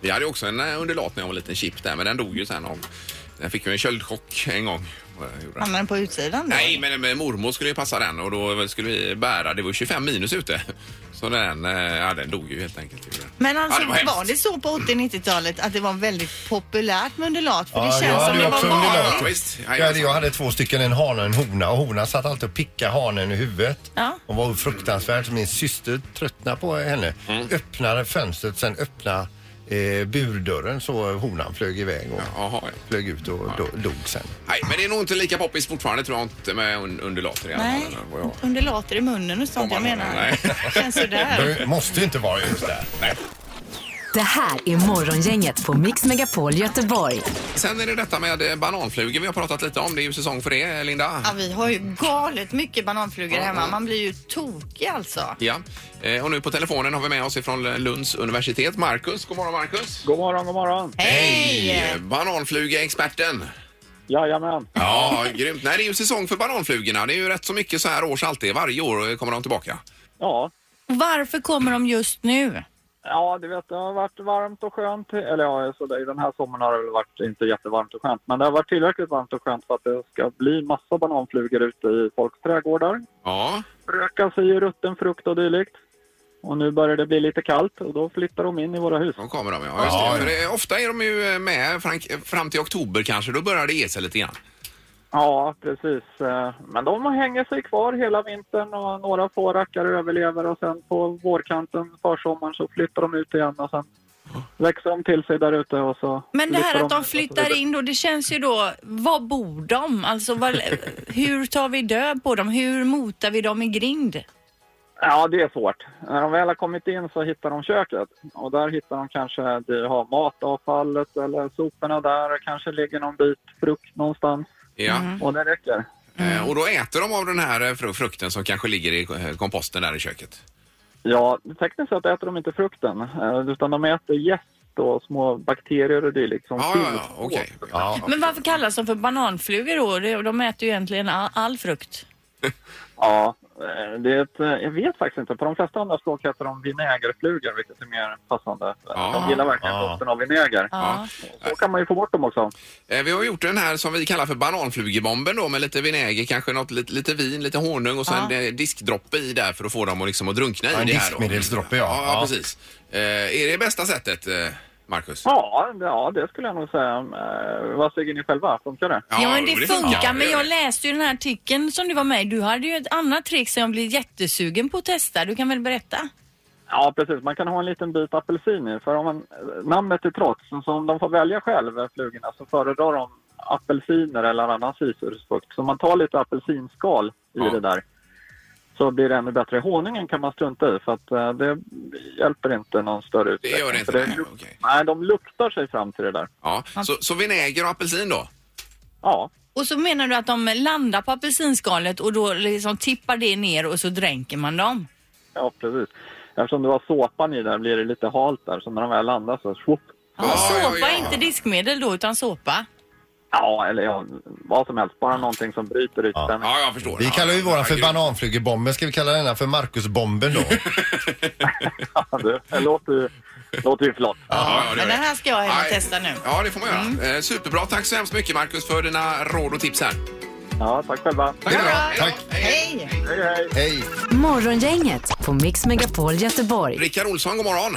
[SPEAKER 1] Vi hade ju också en eh, undulat när jag var liten chip där, men den dog ju sen av... Den fick ju en köldchock en gång. Vad jag gjorde.
[SPEAKER 3] Hamnade den på utsidan då?
[SPEAKER 1] Nej, men, men mormor skulle ju passa den och då skulle vi bära. Det var 25 minus ute. Så den, eh, ja, den dog ju helt enkelt.
[SPEAKER 3] Men alltså,
[SPEAKER 1] Ja, det var
[SPEAKER 3] var,
[SPEAKER 1] hemskt.
[SPEAKER 3] det så på 80-90-talet att det var väldigt populärt med undulat? För
[SPEAKER 2] Ja,
[SPEAKER 3] det känns som
[SPEAKER 2] jag hade
[SPEAKER 3] det
[SPEAKER 2] ju
[SPEAKER 3] var
[SPEAKER 2] också
[SPEAKER 1] Ja,
[SPEAKER 3] vanligt.
[SPEAKER 2] undulat.
[SPEAKER 1] ja, visst. Ja,
[SPEAKER 2] Jag hade, jag hade två stycken, en hane och en hona och honan satt alltid och pickade hanen i huvudet.
[SPEAKER 3] Ja.
[SPEAKER 2] Hon var fruktansvärd så min syster tröttnade på henne.
[SPEAKER 1] Mm.
[SPEAKER 2] Öppnade fönstret, sen öppnade eh, burdörren så honan flög iväg och
[SPEAKER 1] Jaha, ja.
[SPEAKER 2] flög ut och do, dog sen.
[SPEAKER 1] Nej, men det är nog inte lika poppis fortfarande tror jag inte med un- undulater i alla fall.
[SPEAKER 3] Nej,
[SPEAKER 1] eller vad jag-
[SPEAKER 3] undulater i munnen och sånt,
[SPEAKER 1] Om
[SPEAKER 3] jag
[SPEAKER 1] man-
[SPEAKER 3] menar.
[SPEAKER 1] nej.
[SPEAKER 3] Känns sådär.
[SPEAKER 2] Det måste ju inte vara just där.
[SPEAKER 5] Det här är Morgongänget på Mix Megapol Göteborg.
[SPEAKER 1] Sen är det detta med eh, bananflugor vi har pratat lite om. Det är ju säsong för det, Linda.
[SPEAKER 3] Ja, vi har ju galet mycket bananflugor hemma. Man blir ju tokig alltså.
[SPEAKER 1] Ja, Eh, och nu på telefonen har vi med oss ifrån Lunds universitet, Marcus. God morgon, Marcus.
[SPEAKER 10] God morgon, god morgon.
[SPEAKER 1] Eh,
[SPEAKER 3] Hej!
[SPEAKER 1] Bananflugeexperten.
[SPEAKER 10] Jajamän.
[SPEAKER 1] Ja, grymt. Nej, det är ju säsong för bananflugorna. Det är ju rätt så mycket så här års alltid. Varje år kommer de tillbaka.
[SPEAKER 10] Ja.
[SPEAKER 3] Varför kommer de just nu?
[SPEAKER 10] ja, du vet det har varit varmt och skönt. Eller ja, så där, den här sommaren har det väl varit inte jättevarmt och skönt. Men det har varit tillräckligt varmt och skönt för att det ska bli massa bananflugor ute i folks trädgårdar.
[SPEAKER 1] Ja,
[SPEAKER 10] Röka sig i rutten frukt och dylikt. Och nu börjar det bli lite kallt och då flyttar de in i våra hus.
[SPEAKER 1] de kommer de. Ja, just
[SPEAKER 2] Ja,
[SPEAKER 1] det.
[SPEAKER 2] ja.
[SPEAKER 1] För det, ofta är de ju med fram- fram till oktober kanske. Då börjar det ge sig lite grann.
[SPEAKER 10] Ja, precis. Eh, Men de hänger sig kvar hela vintern och några få rackare överlever och sen på vårkanten, försommaren, så flyttar de ut igen och sen växer de till sig där ute och så...
[SPEAKER 3] Men det här
[SPEAKER 10] flyttar
[SPEAKER 3] att de flyttar in då, det känns ju då, var bor de? Alltså var, hur tar vi död på dem? Hur motar vi dem i grind?
[SPEAKER 10] Ja, det är svårt. När de väl har kommit in så hittar de köket och där hittar de kanske, de har matavfallet eller soporna där och kanske ligger någon bit frukt någonstans
[SPEAKER 1] Ja.
[SPEAKER 2] Mm.
[SPEAKER 10] och det räcker.
[SPEAKER 1] Eh, Och då äter de av den här eh, fru- frukten som kanske ligger i eh, komposten där i köket.
[SPEAKER 10] Ja, tekniskt sett äter de inte frukten, eh, utan de äter gäst och små bakterier och dylikt som
[SPEAKER 1] Ja, ja,
[SPEAKER 10] finns
[SPEAKER 1] ja, okej.
[SPEAKER 2] Ja.
[SPEAKER 11] Men varför kallas de för bananflugor då? Det- De äter ju egentligen all, all frukt.
[SPEAKER 10] Ja, eh, det är ett, eh, jag vet faktiskt inte. På de flesta andra språk heter de vinägerflugor, vilket är mer passande.
[SPEAKER 1] Ja,
[SPEAKER 10] de gillar verkligen
[SPEAKER 2] ja.
[SPEAKER 10] doften av vinäger.
[SPEAKER 11] Ja.
[SPEAKER 10] Så kan man ju få bort dem också.
[SPEAKER 1] Eh, Vi har gjort den här som vi kallar för bananflugebomben då med lite vinäger, kanske något, lite, lite vin, lite honung och sen ja. diskdroppe i där för att få dem att, liksom, att drunkna
[SPEAKER 2] Ja,
[SPEAKER 1] i
[SPEAKER 2] en
[SPEAKER 1] det här. då.
[SPEAKER 2] diskmedelsdroppe, ja.
[SPEAKER 1] Ja,
[SPEAKER 2] Ja.
[SPEAKER 1] precis. Eh, är det bästa sättet, eh, Marcus?
[SPEAKER 10] Ja, ja, det skulle jag nog säga. Eh, Vad säger ni själva? Funkar det?
[SPEAKER 11] Ja, men det funkar.
[SPEAKER 1] Ja, det
[SPEAKER 11] men
[SPEAKER 1] gör
[SPEAKER 11] jag
[SPEAKER 1] det.
[SPEAKER 11] läste ju den här artikeln som du var med i. Du hade ju ett annat trick som jag blir jättesugen på att testa. Du kan väl berätta?
[SPEAKER 10] Ja, precis. Man kan ha en liten bit apelsin i. För om man, namnet är trots, så om de får välja själv, eh, flugorna, så föredrar de apelsiner eller annan citrusfrukt. Så man tar lite apelsinskal i
[SPEAKER 1] Ja.
[SPEAKER 10] det där så blir det ännu bättre. Honungen kan man strunta i för att eh, det hjälper inte någon större
[SPEAKER 1] Det
[SPEAKER 10] utsträckning.
[SPEAKER 1] gör det inte,
[SPEAKER 10] För
[SPEAKER 1] nej,
[SPEAKER 10] luk-
[SPEAKER 1] okej.
[SPEAKER 10] nej, de luktar sig fram till det där.
[SPEAKER 1] Ja. Så, så vinäger och apelsin då?
[SPEAKER 10] Ja,
[SPEAKER 11] Och så menar du att de landar på apelsinskalet och då liksom tippar det ner och så dränker man dem?
[SPEAKER 10] ja precis. Eftersom du har såpan i där blir det lite halt där. Så när de väl landar så swoop.
[SPEAKER 11] Ja,
[SPEAKER 1] Ja, ja,
[SPEAKER 11] såpa,
[SPEAKER 1] ja.
[SPEAKER 11] inte diskmedel då, utan såpa.
[SPEAKER 10] Ja, eller ja, vad som helst. Bara någonting som bryter ut den.
[SPEAKER 1] Ja, jag förstår.
[SPEAKER 2] Vi
[SPEAKER 1] ja,
[SPEAKER 2] kallar ju
[SPEAKER 1] ja,
[SPEAKER 2] våran för
[SPEAKER 1] grymt.
[SPEAKER 2] bananflugebomben. Ska vi kalla denna för Marcusbomben då?
[SPEAKER 10] Ja, du, det låter ju, låter ju flott.
[SPEAKER 1] Ja, ja, det
[SPEAKER 3] Men
[SPEAKER 1] gör
[SPEAKER 3] den
[SPEAKER 1] det.
[SPEAKER 3] här ska jag hem och
[SPEAKER 1] Nej.
[SPEAKER 3] testa nu.
[SPEAKER 1] Ja, det får man göra.
[SPEAKER 2] Mm.
[SPEAKER 1] Eh, Superbra. Tack så hemskt mycket, Marcus, för dina råd och tips här.
[SPEAKER 10] Ja, tack själva.
[SPEAKER 1] Tack.
[SPEAKER 2] Det är bra.
[SPEAKER 1] Hej då.
[SPEAKER 2] Tack.
[SPEAKER 3] Hej!
[SPEAKER 10] Hej, hej.
[SPEAKER 2] Hej!
[SPEAKER 5] Morgongänget på Mix Megapol Göteborg.
[SPEAKER 1] Rickard Olsson, god morgon.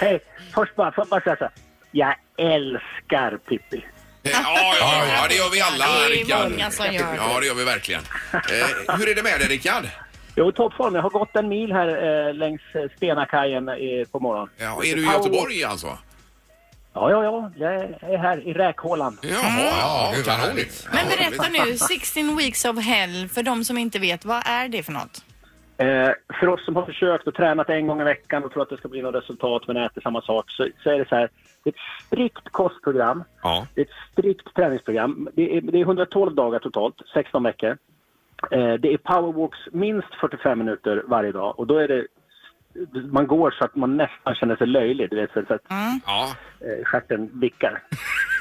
[SPEAKER 9] Hej! Först bara, får jag bara säga så här. Jag älskar Pippi.
[SPEAKER 1] Eh, Ja, ja, ja, det gör vi alla,
[SPEAKER 11] Det är
[SPEAKER 1] Rickard.
[SPEAKER 11] många som gör det.
[SPEAKER 1] Ja, det gör vi verkligen. Eh, hur är det med dig, Rickard?
[SPEAKER 9] Jo, toppform. Jag har gått en mil här eh, längs eh, Stenakajen eh, på morgonen.
[SPEAKER 1] Ja, är du i Göteborg alltså?
[SPEAKER 9] Ja, ja, ja. Jag är här i räkhålan.
[SPEAKER 1] Jaha,
[SPEAKER 2] Ja,
[SPEAKER 1] ja,
[SPEAKER 2] gud, vad
[SPEAKER 1] kanon.
[SPEAKER 2] härligt.
[SPEAKER 11] Men berätta nu, 16 weeks of hell, för de som inte vet, vad är det för något?
[SPEAKER 9] Eh, för oss som har försökt och tränat en gång i veckan och tror att det ska bli något resultat men äter samma sak så, så är det så här. Det är ett strikt kostprogram.
[SPEAKER 1] Ja.
[SPEAKER 9] Det är ett strikt träningsprogram. Det är, det är 112 dagar totalt, 16 veckor. Eh, det är powerwalks minst 45 minuter varje dag och då är det man går så att man nästan känner sig löjlig. Du vet, så så att
[SPEAKER 11] Mm.
[SPEAKER 1] Ja,
[SPEAKER 9] eh, stjärten vickar.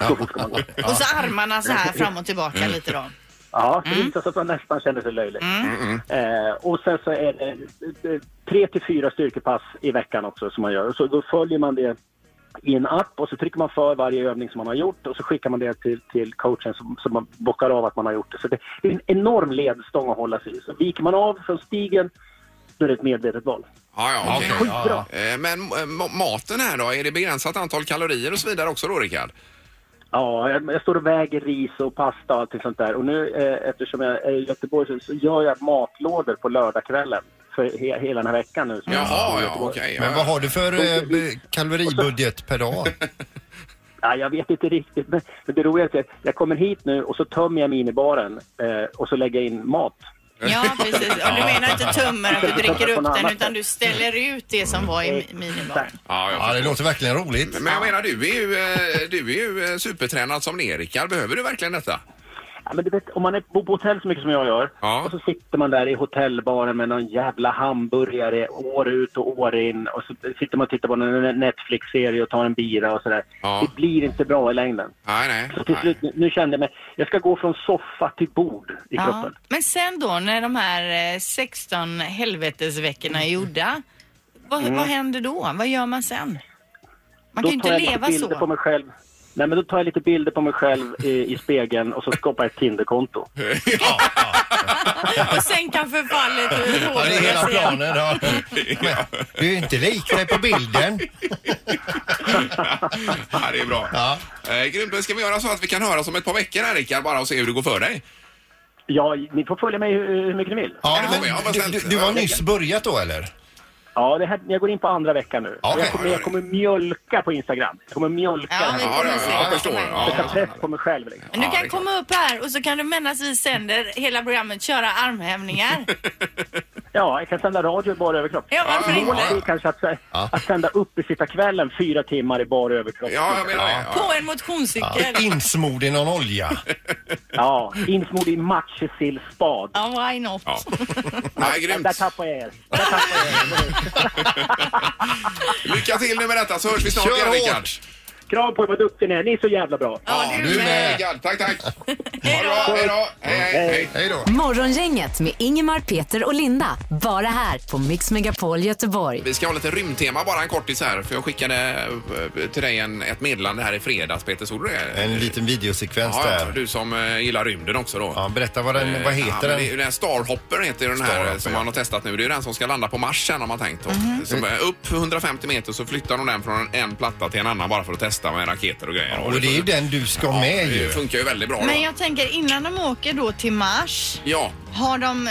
[SPEAKER 9] Så fort ska man gå.
[SPEAKER 11] Och så armarna så här fram och
[SPEAKER 9] Mm.
[SPEAKER 1] Mm.
[SPEAKER 11] tillbaka lite då.
[SPEAKER 9] Ja, det är så att man nästan känner sig löjlig. Eh, och sen så är det eh, tre till fyra styrkepass i veckan också som man gör. Och Så då följer man det i en app och så trycker man för varje övning som man har gjort och så skickar man det till, till coachen som, som man bockar av att man har gjort det. Så det det är en enorm ledstång att hålla sig i. Så viker man av från stigen, då är det ett medvetet val.
[SPEAKER 1] ja, ja okej.
[SPEAKER 2] Okej, ja, ja.
[SPEAKER 1] Eh, Men eh, ma- maten här då, är det begränsat antal kalorier och så vidare också då, Rickard?
[SPEAKER 9] Ja, jag, jag står och väger ris och pasta och allting sånt där. Och nu eh, eftersom jag är i Göteborg så, så gör jag matlådor på lördagskvällen för he, hela den här veckan nu. som jag är
[SPEAKER 1] Jaha,
[SPEAKER 9] i
[SPEAKER 1] ja,
[SPEAKER 9] Göteborg.
[SPEAKER 1] okej.
[SPEAKER 2] Men vad har du för eh, b- kaloribudget per dag?
[SPEAKER 9] Ja, jag vet inte riktigt, men, men det roliga är att jag, jag kommer hit nu och så tömmer jag minibaren eh, och så lägger jag in mat.
[SPEAKER 11] Ja, precis. Och du menar inte tummen att du dricker upp den, utan du ställer ut det som var i minibaren.
[SPEAKER 1] Ja, jag
[SPEAKER 2] Ja, det låter verkligen roligt.
[SPEAKER 1] Men jag menar, du är ju, eh, du är ju eh, supertränad som ni är, Rickard. Behöver du verkligen detta?
[SPEAKER 9] Ja, men du vet, om man är, bor på hotell så mycket som jag gör
[SPEAKER 1] Ja.
[SPEAKER 9] och så sitter man där i hotellbaren med någon jävla hamburgare år ut och år in och så sitter man och tittar på en Netflix-serie och tar en bira och sådär.
[SPEAKER 1] Ja.
[SPEAKER 9] Det blir inte bra i längden.
[SPEAKER 1] Nej, nej.
[SPEAKER 9] Så till
[SPEAKER 1] nej.
[SPEAKER 9] slut, nu- nu kände jag mig, jag ska gå från soffa till bord i
[SPEAKER 11] Ja.
[SPEAKER 9] kroppen.
[SPEAKER 11] Men sen då, när de här eh, 16 helvetesveckorna är gjorda, vad, vad händer då? Vad gör man sen? Man kan ju
[SPEAKER 9] Mm.
[SPEAKER 11] inte
[SPEAKER 9] tar jag lite
[SPEAKER 11] leva
[SPEAKER 9] bilder på
[SPEAKER 11] så.
[SPEAKER 9] mig själv. Nej, men då tar jag lite bilder på mig själv i, i spegeln och så skapar jag ett Tinderkonto.
[SPEAKER 11] Och sen kan förfallet
[SPEAKER 2] Ja, det är hela
[SPEAKER 11] påbörjas igen.
[SPEAKER 2] planen. Ja. Men, du är ju inte lik dig på bilden.
[SPEAKER 1] ja, det är bra.
[SPEAKER 2] Ja.
[SPEAKER 1] Eh, grymt. Men Ska vi göra så att vi kan höras om ett par veckor här, Rickard, bara och se hur det går för dig?
[SPEAKER 9] Ja, ni får följa mig hur, hur mycket ni vill.
[SPEAKER 2] Ja,
[SPEAKER 1] Ja, men jag har
[SPEAKER 2] men, du,
[SPEAKER 1] beställt.
[SPEAKER 2] du, du har nyss börjat då eller?
[SPEAKER 9] Ja, det här, jag går in på andra veckan nu.
[SPEAKER 2] Ja,
[SPEAKER 9] jag, kommer,
[SPEAKER 1] ja, ja.
[SPEAKER 9] jag kommer mjölka på Instagram. Jag kommer mjölka.
[SPEAKER 11] Ja,
[SPEAKER 9] det
[SPEAKER 11] vi
[SPEAKER 9] här.
[SPEAKER 1] Ja,
[SPEAKER 11] kommer
[SPEAKER 1] ja,
[SPEAKER 11] se
[SPEAKER 1] ja, jag
[SPEAKER 11] vad
[SPEAKER 1] förstår.
[SPEAKER 11] som händer.
[SPEAKER 9] Jag
[SPEAKER 1] Ja.
[SPEAKER 9] ska press på mig själv. Liksom.
[SPEAKER 11] Men du
[SPEAKER 1] Ja, det är
[SPEAKER 11] kan
[SPEAKER 1] klart.
[SPEAKER 11] komma upp här och så kan du medan vi sänder hela programmet köra armhävningar.
[SPEAKER 10] Ja, jag kan sända radio i bara överkropp.
[SPEAKER 11] Ja, varför
[SPEAKER 10] Målet
[SPEAKER 11] inte?
[SPEAKER 10] är kanske att, att sända upp i sitta kvällen fyra timmar i bara överkropp.
[SPEAKER 1] Ja, jag menar det. Ja.
[SPEAKER 11] På en motionscykel.
[SPEAKER 2] Insmord i någon olja.
[SPEAKER 10] Ja, insmord i matjessillspad.
[SPEAKER 11] Ja, why not?
[SPEAKER 1] Ja. Nej, grymt.
[SPEAKER 10] Där tappar jag er.
[SPEAKER 1] Lycka till nu med detta så hörs vi snart
[SPEAKER 2] Kör
[SPEAKER 1] igen
[SPEAKER 2] hårt.
[SPEAKER 1] Rickard.
[SPEAKER 10] Krav på er vad duktig ni är. Ni är så jävla bra.
[SPEAKER 11] Ja,
[SPEAKER 1] Du är med Rickard. Tack, tack. Ha det bra. Hej då. Hej, hej. hej.
[SPEAKER 2] Hej då.
[SPEAKER 5] Morgongänget med Ingemar, Peter och Linda. Bara här på Mix Megapol Göteborg.
[SPEAKER 1] Vi ska ha lite rymdtema bara en kortis här för jag skickade eh, till dig en, ett meddelande här i fredags Peter, såg du det?
[SPEAKER 2] En liten videosekvens
[SPEAKER 1] Ja, ja,
[SPEAKER 2] där.
[SPEAKER 1] du som eh, gillar rymden också då. Eh,
[SPEAKER 2] Ja, berätta vad, den, vad
[SPEAKER 1] Ja,
[SPEAKER 2] heter
[SPEAKER 1] men
[SPEAKER 2] den?
[SPEAKER 1] det är ju den här Starhopper heter den här
[SPEAKER 2] Starhopper,
[SPEAKER 1] som
[SPEAKER 2] ja.
[SPEAKER 1] man har testat nu. Det är ju den som ska landa på Mars sen har man tänkt. Och Som är upp 150 meter så flyttar de den från en, en platta till en annan bara för att testa med raketer och grejer.
[SPEAKER 2] Och det är ju den du ska ha med
[SPEAKER 1] det
[SPEAKER 2] ju.
[SPEAKER 1] funkar ju väldigt bra då.
[SPEAKER 3] Men jag tänker innan de åker då till Mars
[SPEAKER 1] Ja,
[SPEAKER 3] Har de,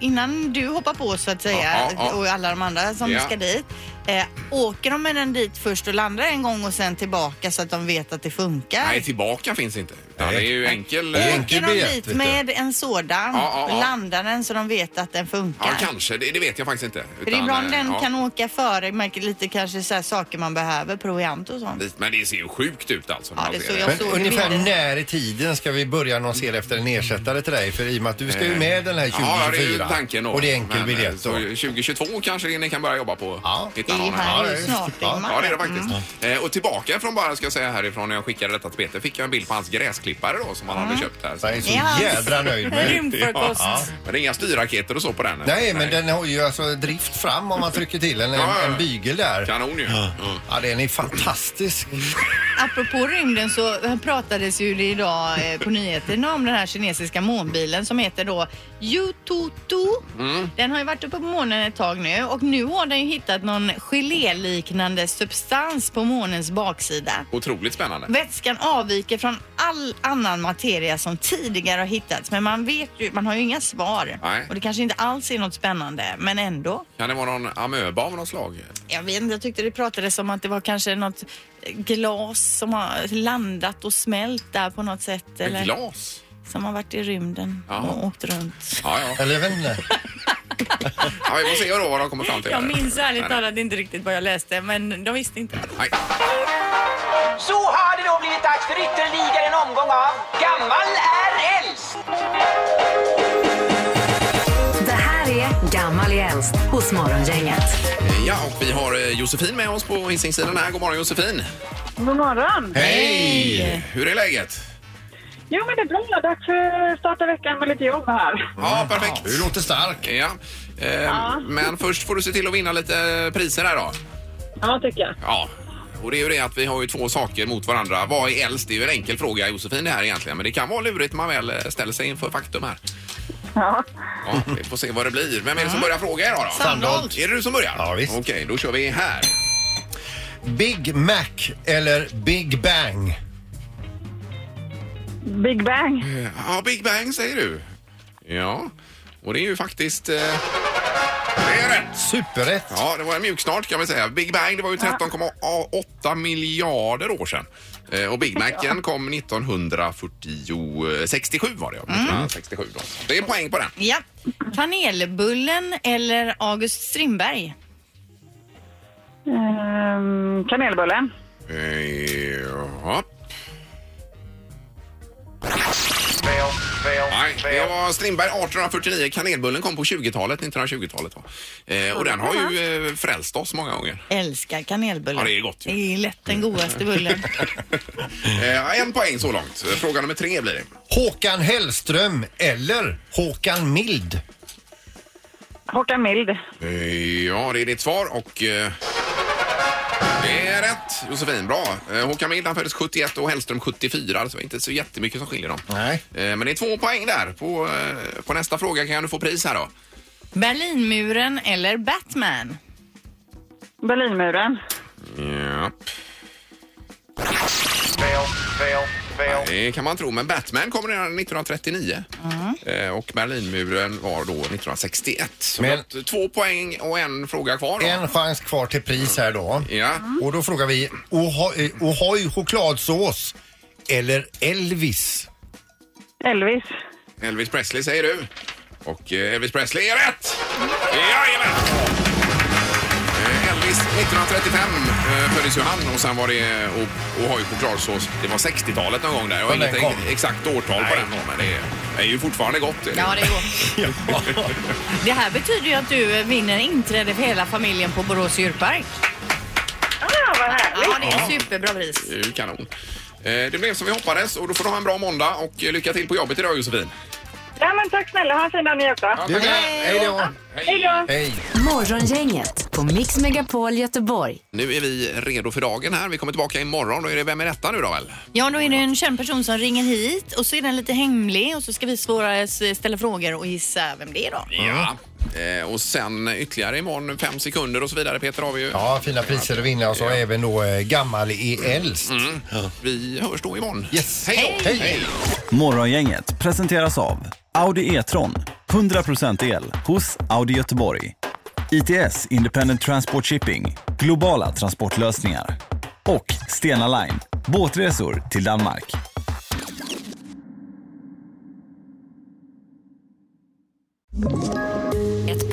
[SPEAKER 3] innan du hoppar på så att säga
[SPEAKER 1] Ja, ja, ja.
[SPEAKER 3] och alla de andra som
[SPEAKER 1] Ja.
[SPEAKER 3] ska dit. Eh, åker de med den dit först och landar en gång och sen tillbaka så att de vet att det funkar?
[SPEAKER 1] nej tillbaka finns inte. Utan
[SPEAKER 2] Nej.
[SPEAKER 1] det är ju enkel...
[SPEAKER 2] Nej.
[SPEAKER 1] eh,
[SPEAKER 2] Enkel
[SPEAKER 3] Åker de
[SPEAKER 2] biljett,
[SPEAKER 3] dit
[SPEAKER 2] vet du.
[SPEAKER 3] med en sådan,
[SPEAKER 1] Ja, ja, ja.
[SPEAKER 3] landar den så de vet att den funkar?
[SPEAKER 1] Ja, kanske. Det, det vet jag faktiskt inte.
[SPEAKER 3] För det är
[SPEAKER 1] Utan,
[SPEAKER 3] bra
[SPEAKER 1] eh,
[SPEAKER 3] om den
[SPEAKER 1] ja,
[SPEAKER 3] kan åka före, märker lite kanske så här saker man behöver, proviant och sånt.
[SPEAKER 1] dit. Men det ser ju sjukt ut alltså. när
[SPEAKER 3] Ja,
[SPEAKER 1] man
[SPEAKER 3] det
[SPEAKER 1] ser
[SPEAKER 3] såg jag
[SPEAKER 2] Men
[SPEAKER 3] såg
[SPEAKER 2] ungefär
[SPEAKER 3] bilder.
[SPEAKER 2] när i tiden ska vi börja annonsera efter en ersättare till dig? För i och med att du ska ju med den här
[SPEAKER 1] Eh. Ja, det är ju
[SPEAKER 2] 2024.
[SPEAKER 1] tanken då.
[SPEAKER 2] Och det är enkel
[SPEAKER 1] Men, eh,
[SPEAKER 2] biljett
[SPEAKER 1] så
[SPEAKER 2] då.
[SPEAKER 1] 2022 kanske ni kan börja jobba på.
[SPEAKER 2] Ja.
[SPEAKER 1] Hitta
[SPEAKER 3] Det är ju
[SPEAKER 1] någon
[SPEAKER 3] här
[SPEAKER 1] Ja,
[SPEAKER 3] ju
[SPEAKER 2] det är-
[SPEAKER 3] snart i
[SPEAKER 2] ja,
[SPEAKER 1] Ja, det är det
[SPEAKER 3] mars.
[SPEAKER 1] faktiskt.
[SPEAKER 3] Mm.
[SPEAKER 1] Eh, och tillbaka från bara, ska jag säga härifrån, när jag skickade detta till Peter, fick jag en bild på hans gräsklippare då som han hade köpt där.
[SPEAKER 2] Jag är så
[SPEAKER 3] Det är hans
[SPEAKER 2] jädra nöjd med den.
[SPEAKER 11] Rymdfarkost.
[SPEAKER 1] Men det är inga styrraketer och så på den?
[SPEAKER 2] Nej, men den har ju alltså drift fram om man trycker till en, en,
[SPEAKER 1] Ja, ja.
[SPEAKER 2] en bygel där.
[SPEAKER 1] Kanon ju. Mm.
[SPEAKER 2] Ja, den är fantastisk.
[SPEAKER 3] Apropå rymden så eh, pratades ju det idag eh, på nyheterna om den här kinesiska månbilen som heter då Yututu. Den har ju varit uppe på månen ett tag nu och nu har den ju hittat någon geléliknande substans på månens baksida.
[SPEAKER 1] Otroligt spännande.
[SPEAKER 3] Vätskan avviker från all annan materia som tidigare har hittats men man vet ju, man har ju inga svar.
[SPEAKER 1] Nej.
[SPEAKER 3] Och det kanske inte alls är något spännande men ändå.
[SPEAKER 1] Kan det vara någon amöba av något slag?
[SPEAKER 3] Jag vet inte, jag tyckte det pratades om att det var kanske något glas som har landat och smält där på något sätt. Eller
[SPEAKER 1] Glas?
[SPEAKER 3] som har varit i rymden
[SPEAKER 1] Ja.
[SPEAKER 3] och åkt runt.
[SPEAKER 1] Ja, ja.
[SPEAKER 2] Eller jag vet inte.
[SPEAKER 1] ja vi får se då vad de kommer fram till.
[SPEAKER 11] Jag minns ärligt
[SPEAKER 1] Nej, nej.
[SPEAKER 11] talat inte riktigt vad jag läste, men de visste inte.
[SPEAKER 1] Nej.
[SPEAKER 12] Så har det då blivit dags för ytterligare en omgång av Gammal är äldst!
[SPEAKER 5] Det här är Gammal i äldst hos Morgongänget.
[SPEAKER 1] Ja, och vi har eh, Josefin med oss på Hisingssidan här. God morgon Josefin!
[SPEAKER 4] God morgon!
[SPEAKER 1] Hej! Hur är läget?
[SPEAKER 4] Jo, men det är bra. Dags för att starta veckan med lite jobb här.
[SPEAKER 1] Ja, perfekt.
[SPEAKER 2] Du låter stark.
[SPEAKER 1] Ja. Eh, Men först får du se till att vinna lite priser här då.
[SPEAKER 4] Ja, tycker jag.
[SPEAKER 1] Ja. Och det är ju det att vi har ju två saker mot varandra. Vad är äldst? Det är ju en enkel fråga Josefin det här egentligen. Men det kan vara lurigt när man väl eh, ställer sig inför faktum här.
[SPEAKER 4] Ja.
[SPEAKER 1] Ja, vi får se vad det blir. Vem är det som börjar fråga idag då?
[SPEAKER 2] Sandholt.
[SPEAKER 1] Är det du som börjar?
[SPEAKER 2] Ja, visst.
[SPEAKER 1] Okej, då kör vi här.
[SPEAKER 2] Big Mac eller Big Bang?
[SPEAKER 4] Big Bang.
[SPEAKER 1] Ja, Big Bang säger du. Ja, och det är ju faktiskt... Eh... Det är rätt!
[SPEAKER 2] Superrätt.
[SPEAKER 1] Ja, det var en mjuk start kan vi säga. Big Bang det var ju 13,8 miljarder år sedan. Eh, Och Big Macen kom 1967 var det ja. 1967 då. Det är en poäng på den.
[SPEAKER 3] Ja. Kanelbullen eller August Strindberg?
[SPEAKER 4] Ehm, kanelbullen.
[SPEAKER 1] Eh, Ja. Nej, det var Strindberg 1849. Kanelbullen kom på 20-talet, 1920-talet. va? Eh, och den har ju eh, frälst oss många gånger.
[SPEAKER 3] Älskar kanelbullen.
[SPEAKER 1] Ja, det är gott ju.
[SPEAKER 3] Det är lätt den godaste bullen.
[SPEAKER 1] Eh, en poäng så långt. Fråga nummer tre blir det.
[SPEAKER 2] Håkan Hellström eller Håkan Mild?
[SPEAKER 4] Håkan Mild.
[SPEAKER 1] Eh, Ja, det är ditt svar och... eh, Det är rätt Josefin, bra. Eh, Håkan Mild han föddes 71 och Hellström 74, alltså inte så jättemycket som skiljer dem.
[SPEAKER 2] Nej.
[SPEAKER 1] Eh, Men det är två poäng där. På, eh, på nästa fråga kan du få pris här då.
[SPEAKER 3] Berlinmuren eller Batman?
[SPEAKER 4] Berlinmuren.
[SPEAKER 1] Ja. Det kan man tro, men Batman kom redan 1939 Eh, och Berlinmuren var då 1961. Så
[SPEAKER 2] Men-
[SPEAKER 1] vi har två poäng och en fråga kvar. Då.
[SPEAKER 2] En chans kvar till pris här då.
[SPEAKER 1] Ja.
[SPEAKER 2] Och då frågar vi Oho- eh, O'hoy chokladsås eller Elvis?
[SPEAKER 4] Elvis.
[SPEAKER 1] Elvis Presley säger du. Och eh, Elvis Presley är rätt! Jajamän! Eh, Elvis 1935 eh, föddes ju han och sen var det och, och har ju chokladsås. Det var 60-talet någon gång där. Jag har
[SPEAKER 2] När den
[SPEAKER 1] inget
[SPEAKER 2] kom.
[SPEAKER 1] ex- exakt årtal på den men det är, det är ju fortfarande gott.
[SPEAKER 3] Ja, det är gott. Det här betyder ju att du eh, vinner inträde för hela familjen på Borås djurpark.
[SPEAKER 4] Ja, vad härligt.
[SPEAKER 3] Ja, det är en superbra pris.
[SPEAKER 1] Det är ju kanon. Eh, Det blev som vi hoppades och då får du ha en bra måndag och eh, lycka till på jobbet idag Josefin.
[SPEAKER 4] Ja, men tack snälla. Ha en fin dag ni också.
[SPEAKER 1] Ja, tack.
[SPEAKER 2] Hej då!
[SPEAKER 4] Hej då!
[SPEAKER 2] Hej!
[SPEAKER 5] Morgongänget på Mix Megapol Göteborg.
[SPEAKER 1] Nu är vi redo för dagen här. Vi kommer tillbaka imorgon. Då är det Vem är detta nu då väl?
[SPEAKER 3] Ja, då är det en känd person som ringer hit och så är den lite hemlig och så ska vi svåra, s- ställa frågor och gissa vem det är då.
[SPEAKER 1] Ja. Eh, Och sen ytterligare imorgon fem sekunder och så vidare Peter har vi ju.
[SPEAKER 2] Ja, fina priser att vinna och så även då eh, gammal i äldst.
[SPEAKER 1] Mm. Vi hörs då imorgon.
[SPEAKER 2] Yes.
[SPEAKER 1] Hej då!
[SPEAKER 2] Hej.
[SPEAKER 13] Morgongänget presenteras av Audi E-tron. 100% el hos Audi Göteborg. ITS Independent Transport Shipping. Globala transportlösningar. Och Stena Line. Båtresor till Danmark.
[SPEAKER 14] Ett